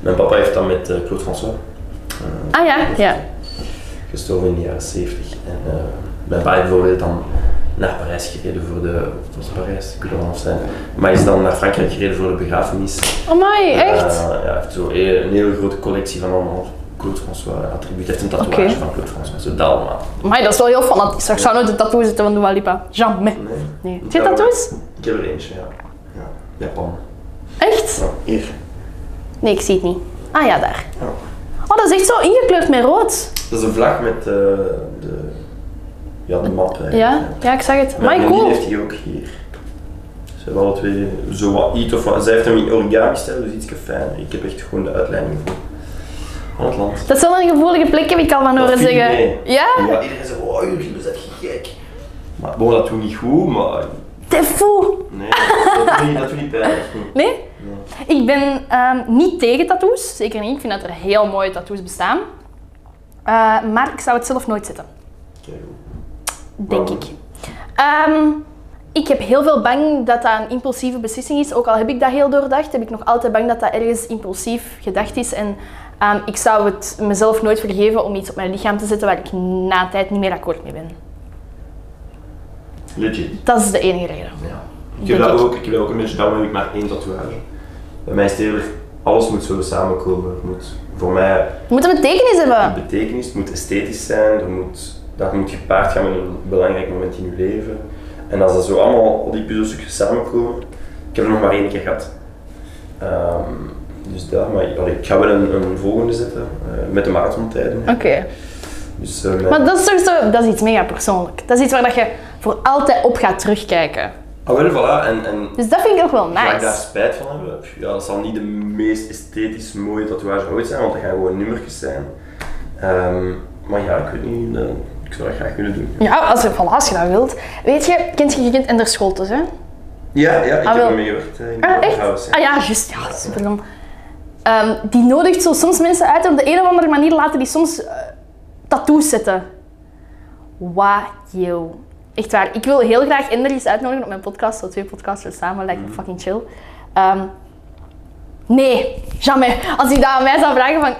S1: Mijn papa heeft dat met eh, Claude François. Eh,
S2: Ah ja, ja.
S1: gestorven in de jaren 70. En eh, mijn pa heeft bijvoorbeeld dan naar Parijs gereden voor de. Was het Parijs? Ik weet het niet zijn. Maar is dan naar Frankrijk gereden voor de begrafenis.
S2: Amai, echt?
S1: Eh, ja, hij heeft zo heel- een hele grote collectie van allemaal Claude François attributen. Hij heeft een tatoeage
S2: Oké.
S1: van Claude François, zo dat allemaal.
S2: Amai, dat is wel heel fanatisch. Ik zou nooit een tattoo zitten van Dua Lipa. Jamais.
S1: Nee.
S2: Nee. Zit tattoos?
S1: Ik heb er eentje, ja. ja. Japan.
S2: Echt?
S1: Ja, hier.
S2: Nee, ik zie het niet. Ah ja, daar.
S1: Ja.
S2: Oh, dat is echt zo ingekleurd met rood.
S1: Dat is een vlag met eh, de. Ja, de map. eigenlijk,
S2: Ja, ja ik zag het.
S1: Mijn
S2: Amai,
S1: vriendin
S2: cool.
S1: heeft die ook hier. Ze hebben alle twee zo wat iets of wat. Zij heeft hem in origami gesteld, dus iets fijn. Ik heb echt gewoon de uitleiding voor van het land.
S2: Dat is wel een gevoelige plek, heb ik al van
S1: Dat
S2: horen
S1: viel
S2: zeggen.
S1: mee.
S2: Ja?
S1: Ja, iedereen zegt, oh jullie zijn echt gek. Maar bon, dat doet niet goed, maar
S2: Te foe.
S1: nee, dat doet niet, dat doet niet pijn.
S2: Nee? Ik ben ehm, niet tegen tattoos, zeker niet. Ik vind dat er heel mooie tattoos bestaan. Eh, maar ik zou het zelf nooit zetten,
S1: Kijk,
S2: denk
S1: Waarom?
S2: ik. Ehm, ik heb heel veel bang dat dat een impulsieve beslissing is. Ook al heb ik dat heel doordacht, heb ik nog altijd bang dat dat ergens impulsief gedacht is. En ehm, ik zou het mezelf nooit vergeven om iets op mijn lichaam te zetten waar ik na een tijd niet meer akkoord mee ben.
S1: Legit.
S2: Dat is de enige reden.
S1: Ja. Ik heb
S2: Denk
S1: dat
S2: ik.
S1: ook, ik heb dat ook een beetje, daarom heb ik maar één tatoeage. Bij mij is het eerder, alles moet zo samenkomen. Het moet voor mij
S2: Het moet een betekenis hebben.
S1: Het betekenis, het moet esthetisch zijn, er moet, dat moet gepaard gaan met een belangrijk moment in je leven. En als dat zo allemaal, al die puzzelstukjes samenkomen, ik heb er nog maar één keer gehad. Ehm, dus daar, maar allee, ik ga wel een, een volgende zetten, eh, met de marathontijden.
S2: Oké.
S1: Dus, eh, mijn-
S2: Maar dat is toch zo, dat is iets mega persoonlijk. Dat is iets waar dat je voor altijd op gaat terugkijken.
S1: Ah wel, voilà, en, en
S2: Dus dat vind ik ook wel
S1: ga ik daar
S2: nice.
S1: spijt van hebben? Pff, Ja, dat zal niet de meest esthetisch mooie tatoeage ooit zijn, want dat gaan gewoon nummertjes zijn. Ehm, maar ja, ik weet niet, eh, ik zou dat graag willen doen.
S2: Ja, als je, voilà, als je dat wilt. Weet je, kent je je kind in de school dus, hè?
S1: Ja, ja, ik
S2: Ah,
S1: heb
S2: wel.
S1: ermee gewerkt eh, in de
S2: Ah, echt?
S1: House.
S2: Ah ja, juist. Ja, super dan. Ehm, die nodigt zo soms mensen uit op de een of andere manier laten die soms eh, tattoos zetten. Wauw. Echt waar. Ik wil heel graag Ender eens uitnodigen op mijn podcast. Zo twee podcasters samen lijkt
S1: Mhm.
S2: me fucking chill. Ehm, nee, jamais. Als hij dat aan mij zou vragen van...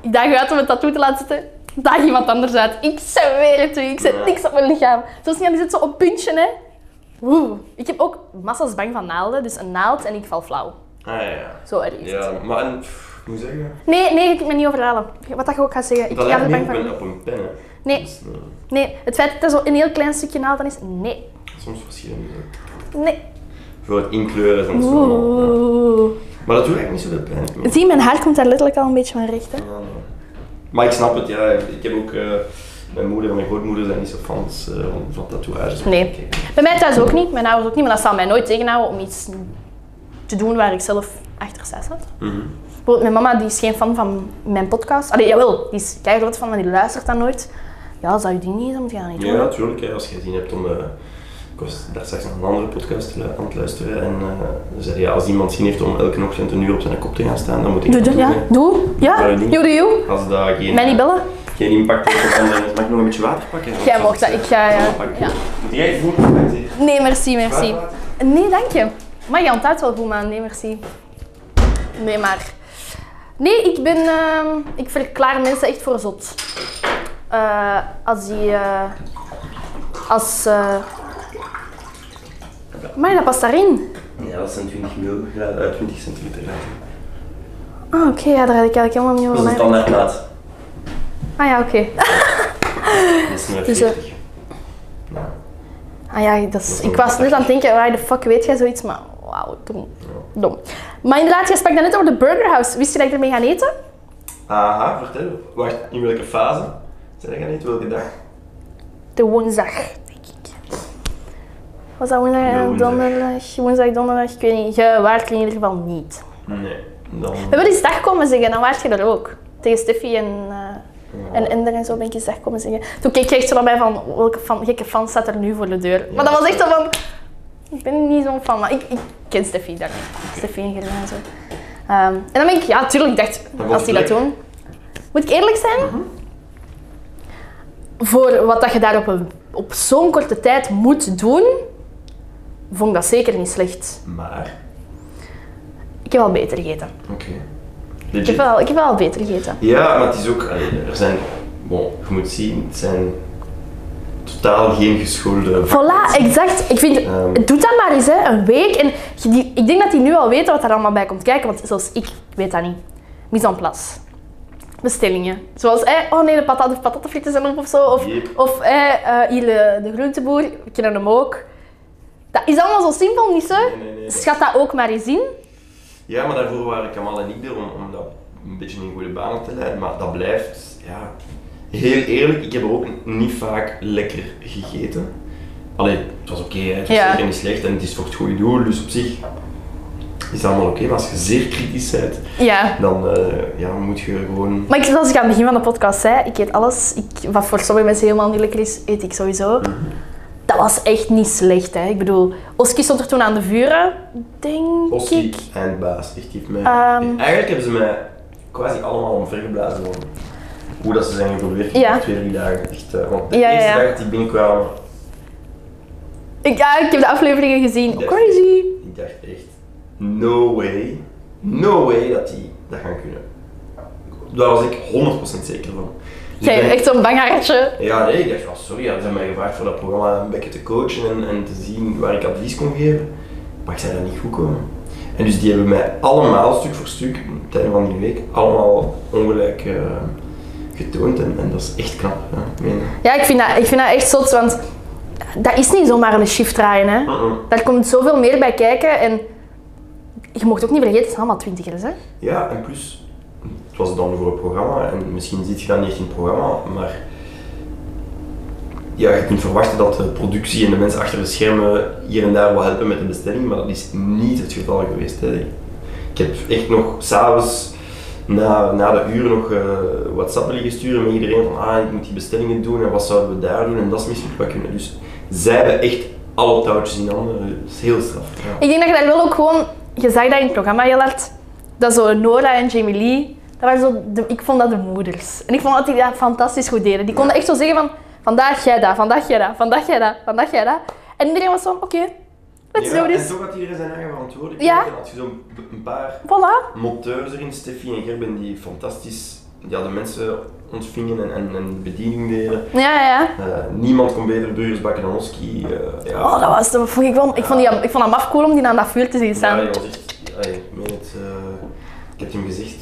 S2: Ik daag u uit om een tattoo te laten zitten. Daag iemand anders uit. Ik zweer het u. Ik zet niks op mijn lichaam. Zoals niet, die zit zo op puntje, hè. Oeh. Ik heb ook massas bang van naalden. Dus een naald en ik val flauw.
S1: Ah ja, ja.
S2: Zo erg is het.
S1: Ja, maar en, pff, ik moet zeggen,
S2: Nee, nee, ik kan me niet overhalen. Wat dat je ook gaat zeggen. Ik
S1: dat
S2: ga
S1: lijkt
S2: er
S1: niet op
S2: bang van.
S1: een, op een pen. Hè.
S2: Nee,
S1: Dus, eh,
S2: nee. Het feit dat er zo een heel klein stukje naald aan is, nee.
S1: soms verschillende.
S2: Nee.
S1: Voor het inkleuren en zo. ja.
S2: Oeh.
S1: Maar dat doet eigenlijk niet zoveel pijn. ik bedoel.
S2: Zie, mijn haar komt daar letterlijk al een beetje van recht, hè.
S1: Ja, nee. Maar ik snap het, ja. Ik heb ook, eh, mijn moeder en mijn grootmoeder zijn niet zo fans eh, van, van tatoeages.
S2: Nee.
S1: Oké.
S2: Bij mij thuis ook niet, mijn ouders ook niet, maar dat zal mij nooit tegenhouden om iets te doen waar ik zelf achter sta zat.
S1: Mhm.
S2: Bijvoorbeeld mijn mama die is geen fan van mijn podcast. Allee, jawel, die is keihard fan, maar die luistert dat nooit. Ja, zou je die niet, dan moet je dat niet doen.
S1: Ja, natuurlijk. hè, Als je gezien hebt om eh, Ik was daar straks nog een andere podcast lu- aan het luisteren en eh, ze zei ja, als iemand zin heeft om elke ochtend een uur op zijn kop te gaan staan, dan moet ik
S3: Doe,
S1: dat
S3: doe,
S1: doen,
S3: ja.
S1: hè.
S3: Doe. Ja.
S1: Waarom niet?
S3: Joe, doe, joe.
S1: Als dat geen,
S3: Mij niet bellen.
S1: geen impact heeft op anderen, mag ik nog een beetje water pakken?
S2: Jij mocht dat, ik ga... eh,
S1: Pak ik.
S2: ja.
S1: Moet jij het doen?
S2: Nee, merci, merci.
S1: Water?
S2: Nee, dank je. Maar je onthoudt wel goed, man. Nee, merci. Nee, maar... Nee, ik ben... ehm, ik verklaar mensen echt voor zot. Eh, als die... eh, als... eh Maar dat past daarin.
S1: Ja, dat zijn 20 mil, ja, eh, 20 centiliter. ja.
S2: Ah, oké. ja, daar had ik eigenlijk helemaal niet
S1: Dat is
S2: over
S1: een
S2: nagedacht.
S1: standaardmaat.
S2: Ah ja, oké.
S1: Dat is een
S2: Dus, eh,
S1: 40. Nou,
S2: Ah ja, dat is, ik was net aan het denken, waar de fuck weet jij zoiets? Maar wauw, dom. dom. Maar inderdaad, jij sprak net over de Burger House. Wist je dat ik ermee ga eten?
S1: Aha, vertel. Wacht, in welke fase? Zijn dat niet? Welke dag?
S2: De woensdag, denk ik. Was dat woensdag,
S1: De woensdag.
S2: donderdag? Woensdag, donderdag, ik weet niet. Je waart er in ieder geval niet.
S1: Nee. Dan...
S2: We hebben eens dag komen zeggen, dan waart je er ook. Tegen Steffi en, eh, en Ender en zo ben ik eens dag komen zeggen. Toen keek je echt zo naar mij van, welke fan, gekke fan staat er nu voor de deur? Maar dat was echt zo van, ik ben niet zo'n fan, maar ik, ik ken Steffi daar. Steffi en Gerda en zo. Ehm, en dan ben ik, ja tuurlijk, ik dacht,
S1: was
S2: als die dat
S1: lekker.
S2: doen. Moet ik eerlijk zijn? Voor wat dat je daar op, een- op zo'n korte tijd moet doen, vond ik dat zeker niet slecht.
S1: Maar,
S2: Ik heb wel beter gegeten.
S1: oké.
S2: Ik heb
S1: Legit.
S2: wel, ik heb wel beter gegeten.
S1: Ja, maar het is ook, allee, er zijn, bon, je moet zien, het zijn totaal geen geschoolde.
S2: Voilà, exact. Ik vind,
S1: Ehm.
S2: doe dat maar eens, hè. een week. En je- die, ik denk dat die nu al weten wat er allemaal bij komt kijken, want zelfs ik weet dat niet. Mise en place. Bestellingen. Zoals, hè, oh nee, de patat, de patatfrieten zijn op of zo. Of,
S1: Yep.
S2: of hè, eh, hier de, de groenteboer, we kennen hem ook. Dat is allemaal zo simpel, niet zo?
S1: Nee, nee, nee.
S2: Schat dat ook maar eens in.
S1: Ja, maar daarvoor waren Kamal en ik er om, om dat een beetje in goede banen te leiden, maar dat blijft, ja. Heel eerlijk, ik heb er ook niet vaak lekker gegeten. Allee, het was oké, hè, het was
S2: Ja.
S1: zeker niet slecht en het is voor het goede doel, dus op zich is het allemaal oké. maar als je zeer kritisch bent,
S2: Ja.
S1: dan eh, ja, moet je gewoon...
S2: Maar ik, zoals ik aan het begin van de podcast zei, ik eet alles. Ik, wat voor sommige mensen helemaal niet lekker is, eet ik sowieso. Dat was echt niet slecht, hè. Ik bedoel, Oski stond er toen aan de vuren, denk
S1: Oski
S2: ik.
S1: en baas, echt die heeft mij.
S2: Ehm.
S1: Eigenlijk hebben ze mij quasi allemaal omvergeblazen van hoe dat ze zijn geprobeerd
S2: Ja.
S1: de twee, drie dagen. Echt, eh, want de
S2: Ja, ja,
S1: eerste
S2: ja.
S1: dag dat die binnenkwamen,
S2: Ik, ja, ik heb de afleveringen gezien.
S1: Ja.
S2: Crazy.
S1: ik dacht echt, no way, no way dat die dat gaan kunnen. Daar was ik 100% zeker van. Dus ik
S2: Jij
S1: ben-
S2: echt zo'n banghaartje.
S1: Ja, nee, ik dacht, ja, sorry, ja, ze hebben mij gevraagd voor dat programma een beetje te coachen en, en te zien waar ik advies kon geven. Maar ik zei dat niet goed komen. En dus die hebben mij allemaal, stuk voor stuk, tijdens van die week, allemaal ongelijk eh, getoond. En, en dat is echt knap. Ja, ik meen dat.
S2: Ja, ik vind, dat, ik vind dat echt zot, want dat is niet zomaar een shift draaien, hè.
S1: Uh-uh.
S2: Daar komt zoveel meer bij kijken en je mocht ook niet vergeten, het zijn allemaal twintigers, hè.
S1: Ja, en plus, het was dan voor een programma en misschien zit je dan niet in het programma, maar ja, je kunt verwachten dat de productie en de mensen achter de schermen hier en daar wel helpen met de bestelling, maar dat is niet het geval geweest. Hè. Ik heb echt nog s'avonds na, na de uur nog eh WhatsApp liggen sturen met iedereen van ah, ik moet die bestellingen doen en wat zouden we daar doen en dat is misschien wat kunnen. Dus zij hebben echt alle touwtjes in handen, dat is heel straf. Ja.
S2: Ik denk dat je daar wel ook gewoon... Je zag dat in het programma heel hard. Dat zo Nora en Jamie Lee, dat waren zo de, ik vond dat de moeders. En ik vond dat die dat fantastisch goed deden. Die konden echt zo zeggen van, vandaag jij dat, vandaag jij dat, vandaag jij dat, vandaag jij dat. En iedereen was van, oké, let's
S1: Ja,
S2: do
S1: En
S2: this.
S1: toch had iedereen zijn eigen verantwoordelijkheid.
S2: dus- Ja.
S1: En had je zo'n b- een paar
S2: Voilà.
S1: monteurs erin, Steffi en Gerben, die fantastisch ja, de mensen ontvingen en, en, en de bediening deden.
S2: Ja, ja, ja.
S1: Eh, niemand kon beter burgers bakken dan Oski. eh, ja.
S2: Oh, dat was, dat vond ik wel, ik vond, die, ik vond dat maf cool om die aan dat vuur te zien
S1: Ja,
S2: staan.
S1: hij was echt- ja, ik meen het, eh, ik heb hem gezegd,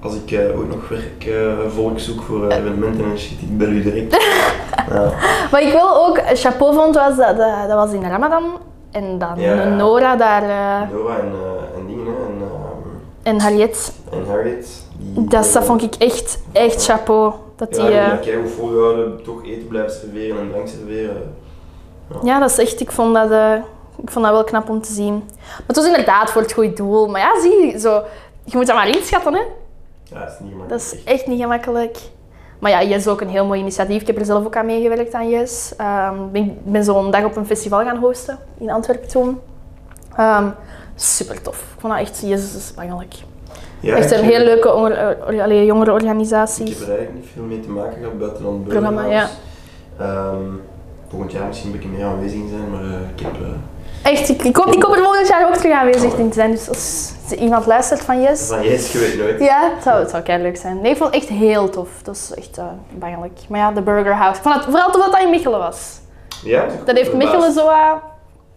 S1: als ik eh, ooit nog werk, eh, volk zoek voor eh, evenementen en shit, ik bel u direct. ja.
S2: Wat ik wel ook chapeau vond, was dat, dat, dat was in Ramadan. En dan
S1: Ja.
S2: Nora daar eh,
S1: Nora en, eh, en dingen hè, en, ehm,
S2: en Harriet.
S1: en Harriet. die-
S2: Dat, dat vond ik echt, echt chapeau. Dat die,
S1: Ja, die
S2: eh,
S1: heb jij ook volgehouden, toch eten blijven serveren en drank serveren.
S2: Ja, dat is echt, ik vond dat, eh, ik vond dat wel knap om te zien. Maar het was inderdaad voor het goede doel. Maar ja, zie, zo, je moet dat maar inschatten, hè.
S1: Ja, dat is niet gemakkelijk.
S2: Dat is echt niet gemakkelijk. Maar ja, Yes is ook een heel mooi initiatief. Ik heb er zelf ook aan meegewerkt aan Yes. Ehm, ik ben, ben zo'n dag op een festival gaan hosten in Antwerpen toen. Ehm, super tof. Ik vond dat echt, Yes is belangrijk.
S1: Ja,
S2: echt
S1: ik
S2: een
S1: heb-
S2: heel leuke onger- eh, allee,
S1: Ik heb
S2: jongerenorganisaties.
S1: er eigenlijk niet veel mee te maken gehad buiten dan het
S2: Programma,
S1: burgerhuis. Ehm, volgend jaar misschien een beetje meer aanwezig zijn, maar eh, ik heb... eh,
S2: Echt, ik, ik, hoop, ik hoop er volgend jaar ook terug aanwezig in te zijn. Dus als iemand luistert van Yes,
S1: van yes, je weet nooit.
S2: Ja, het zou, het zou leuk zijn. Nee, ik vond het echt heel tof. Dat is echt eh bangelijk. Maar ja, de Burger House. Ik vond het vooral tof dat dat in Mechelen was.
S1: Ja,
S2: Dat heeft
S1: verbaasd.
S2: Mechelen zo aan.
S1: Een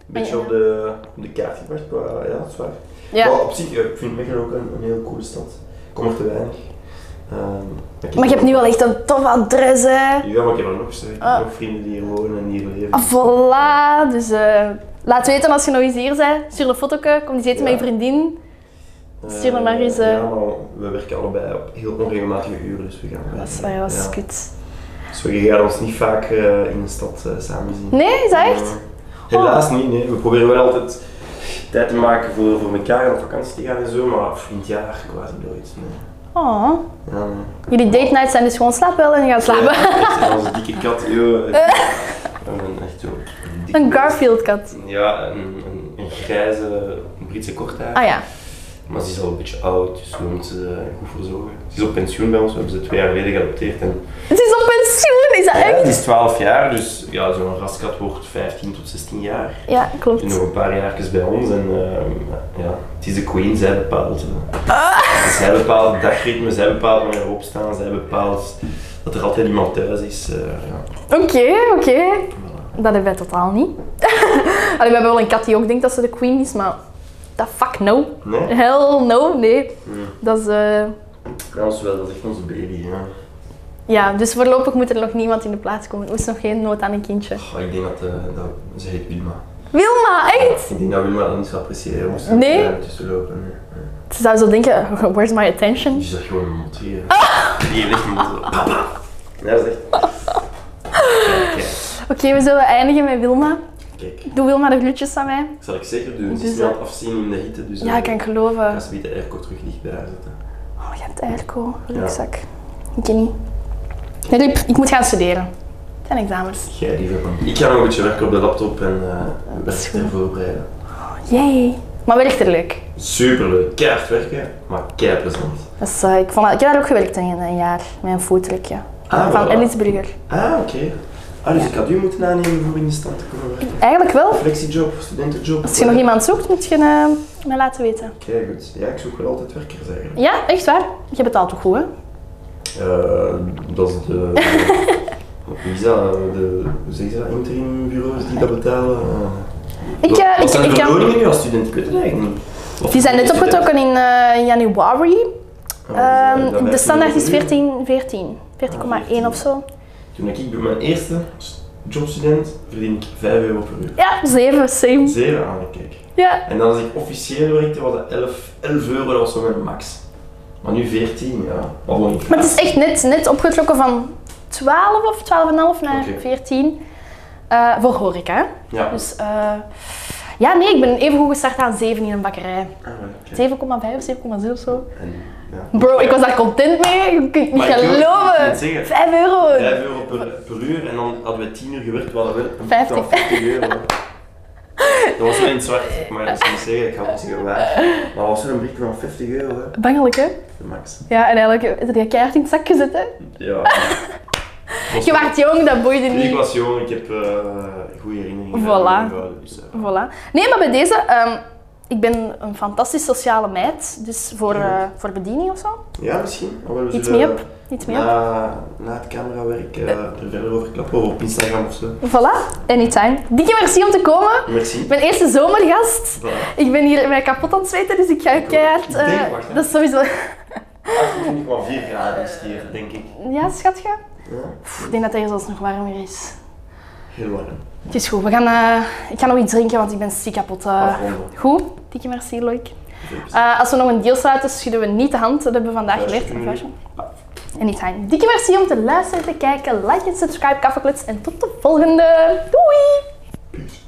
S1: beetje op de, op de kaart gebracht, maar ja, dat is waar.
S2: Ja.
S1: Maar op zich, eh, ik vind Mechelen ook een, een heel coole stad. Ik kom er te weinig. Ehm, ik
S2: Maar je hebt nu wel echt een tof adres, hè.
S1: Ja, maar ik heb er nog, ik heb
S2: Ah.
S1: nog vrienden die hier wonen en hier leven.
S2: Ah, Voilà. Dus eh, laat weten als je nog eens hier bent. Stuur een fotoke. Kom eens eten
S1: Ja.
S2: met je vriendin.
S1: Eh,
S2: stuur me maar eens, eh.
S1: Ja, maar we werken allebei op heel onregelmatige uren, dus we gaan...
S2: Dat is waar, dat is
S1: ja.
S2: kut.
S1: Dus we gaan ons niet vaak eh, in de stad eh, samen zien.
S2: Nee, is dat echt?
S1: Ja. Helaas niet, nee. We proberen wel altijd tijd te maken voor, voor elkaar en op vakantie te gaan en zo, maar pff, in het jaar quasi nooit. Nee.
S2: Oh.
S1: Ja, nee.
S2: Jullie date nights zijn dus gewoon slaap wel en gaan slapen.
S1: Echt, en onze dikke kat, joh. Een- Echt zo. dikke-
S2: Een Garfield-kat.
S1: Ja, een, een, een grijze Britse korthaar.
S2: Ah ja.
S1: Maar ze is al een beetje oud, dus we moeten ze goed verzorgen. Ze is op pensioen bij ons, we hebben ze twee jaar geleden geadopteerd. En,
S2: Het is op pensioen, is dat
S1: Ja,
S2: echt?
S1: het is 12 jaar, dus ja, zo'n raskat wordt 15 tot 16 jaar.
S2: Ja,
S1: En
S2: klopt.
S1: nog een paar jaartjes bij ons en ehm, ja, het is de queen, zij bepaalt. eh. Dus zij bepaalt het dagritme, zij bepaalt wanneer we opstaan, zij bepaalt dat er altijd iemand thuis is. eh, ja.
S2: Oké, oké. Dat hebben wij totaal niet. Allee, we hebben wel een kat die ook denkt dat ze de queen is, maar... The fuck no.
S1: Nee?
S2: Hell no, nee.
S1: Hmm.
S2: Dat is... eh,
S1: Bij ons wel, dat is echt onze baby. Ja.
S2: Ja, dus voorlopig moet er nog niemand in de plaats komen. Er is nog geen nood aan een kindje.
S1: Goh, ik denk dat, eh, dat ze heet Wilma.
S2: Wilma, echt?
S1: Ik denk dat Wilma dat niet zou appreciëren moest er
S2: Nee?
S1: eh, tussen lopen. nee. Ja.
S2: Ze zou zo denken, where's my
S1: Die
S2: attention?
S1: is echt gewoon een mot hier. Die heeft echt een mot. zo, Ah! Papa! Ja, dat is echt... Kijk,
S2: Oké, we zullen eindigen met Wilma.
S1: kijk.
S2: Doe Wilma de glutjes aan mij.
S1: Dat zal ik zeker doen. Ze
S2: Dus,
S1: is niet aan
S2: eh,
S1: het afzien in de hitte, dus...
S2: Ja, ik kan
S1: Ga
S2: geloven.
S1: ze de airco terug dicht bij haar zetten.
S2: Oh, je hebt airco. Rugzak. Ik ken niet. Nee, Lip, ik moet gaan studeren. Het zijn examens.
S1: Jij liever van. Ik ga nog een beetje werken op de laptop en eh
S2: Dat
S1: werk
S2: is
S1: ter
S2: goed.
S1: voorbereiden.
S2: Yay. Maar werkt er leuk.
S1: Superleuk, keihard werken, maar keihard plezant.
S2: Dat is, eh, ik, vond dat- ik heb daar ook gewerkt in een jaar, met een voetrekje.
S1: Ah,
S2: van
S1: voilà.
S2: Ellisburger.
S1: Ah, oké. Ah, dus ik had u moeten aannemen voor in de stad te komen werken. Ah,
S2: Eigenlijk wel.
S1: Flexiejob, studentenjob.
S2: Als je nog iemand zoekt, moet je eh, mij laten weten.
S1: Oké, goed. Ja, ik zoek wel altijd werkers eigenlijk.
S2: Ja, echt waar. Je betaalt toch goed, hè?
S1: Eh, dat is de... Wie is dat? De, hoe zeg je dat? Interimbureaus die dat betalen?
S2: Ik, eh,
S1: Wat
S2: ik,
S1: zijn de
S2: ik, heb-
S1: verloringen nu als student? Ik weet het eigenlijk niet. Of-
S2: die zijn net opgetrokken in eh, januari.
S1: Ah,
S2: Ehm,
S1: dat
S2: de
S1: werkt
S2: standaard is
S1: nu.
S2: 14, 14. 14,1 of zo.
S1: Toen ik bij mijn eerste jobstudent verdien ik 5 euro per uur.
S2: Ja, 7, same.
S1: Zeven aan, kijk.
S2: Ja.
S1: En dan als ik officieel werkte, was dat 11, 11 euro, dat was zo mijn max. Maar nu 14, ja. Maar gewoon niet.
S2: Maar het is echt net, net opgetrokken van 12 of 12,5 naar
S1: Oké.
S2: 14. eh, voor horeca. hè.
S1: Ja.
S2: Dus eh, ja, nee, ik ben even goed gestart aan 7 in een bakkerij.
S1: Ah, oké.
S2: 7,5 of 7,0 of zo.
S1: En, ja.
S2: Bro, ik was daar content mee. Je kunt het niet
S1: Maar ik wil- ik wil
S2: geloven.
S1: het zeggen.
S2: 5 euro.
S1: 5 euro per, per uur en dan hadden we 10 uur gewerkt, we hadden wel een
S2: 50.
S1: boete van 50 euro. Dat was wel in het zwart, maar dat is niet zeggen, ik had het zeggen waar. Maar dat was wel een briefje van 50 euro, hè.
S2: Bangelijk, hè?
S1: de max.
S2: Ja, en eigenlijk is er keihard in het zak gezet, hè?
S1: Ja.
S2: Je was jong, dat boeide
S1: Ik
S2: niet.
S1: was jong, ik heb eh goede herinneringen.
S2: Voilà.
S1: aan mijn ouders, dus, eh. hè.
S2: Voilà. Nee, maar bij deze, ehm, ik ben een fantastisch sociale meid. Dus voor, eh, voor bediening of zo.
S1: Ja, misschien. Maar we
S2: Iets
S1: zullen
S2: mee op. Iets mee op.
S1: Na, na het camerawerk eh, er verder over klappen of op Instagram of zo.
S2: Voilà, anytime. Dikke merci om te komen.
S1: Merci.
S2: Ik ben eerste zomergast.
S1: Voilà.
S2: Ik ben hier mij kapot aan het zweten, dus ik ga
S1: Ik ook.
S2: keihard...
S1: Ik
S2: eh,
S1: denk, wacht, hè.
S2: dat is sowieso...
S1: 28,4 graden is het hier, denk ik.
S2: Ja, schatje?
S1: Ja,
S2: Pff, ik denk dat het hier zelfs nog warmer is.
S1: heel warm.
S2: Het is goed, we gaan, eh, ik ga nog iets drinken, want ik ben ziek kapot. eh.
S1: Afronden.
S2: goed, dikke merci, Loik.
S1: Veel plezier.
S2: Eh, als we nog een deal sluiten, schudden we niet de hand. Dat hebben we vandaag geleerd.
S1: Vuistje.
S2: Een vuistje. Anytime. Dikke merci om te luisteren, te kijken. Like en subscribe, Kaffeeklets. En tot de volgende. Doei!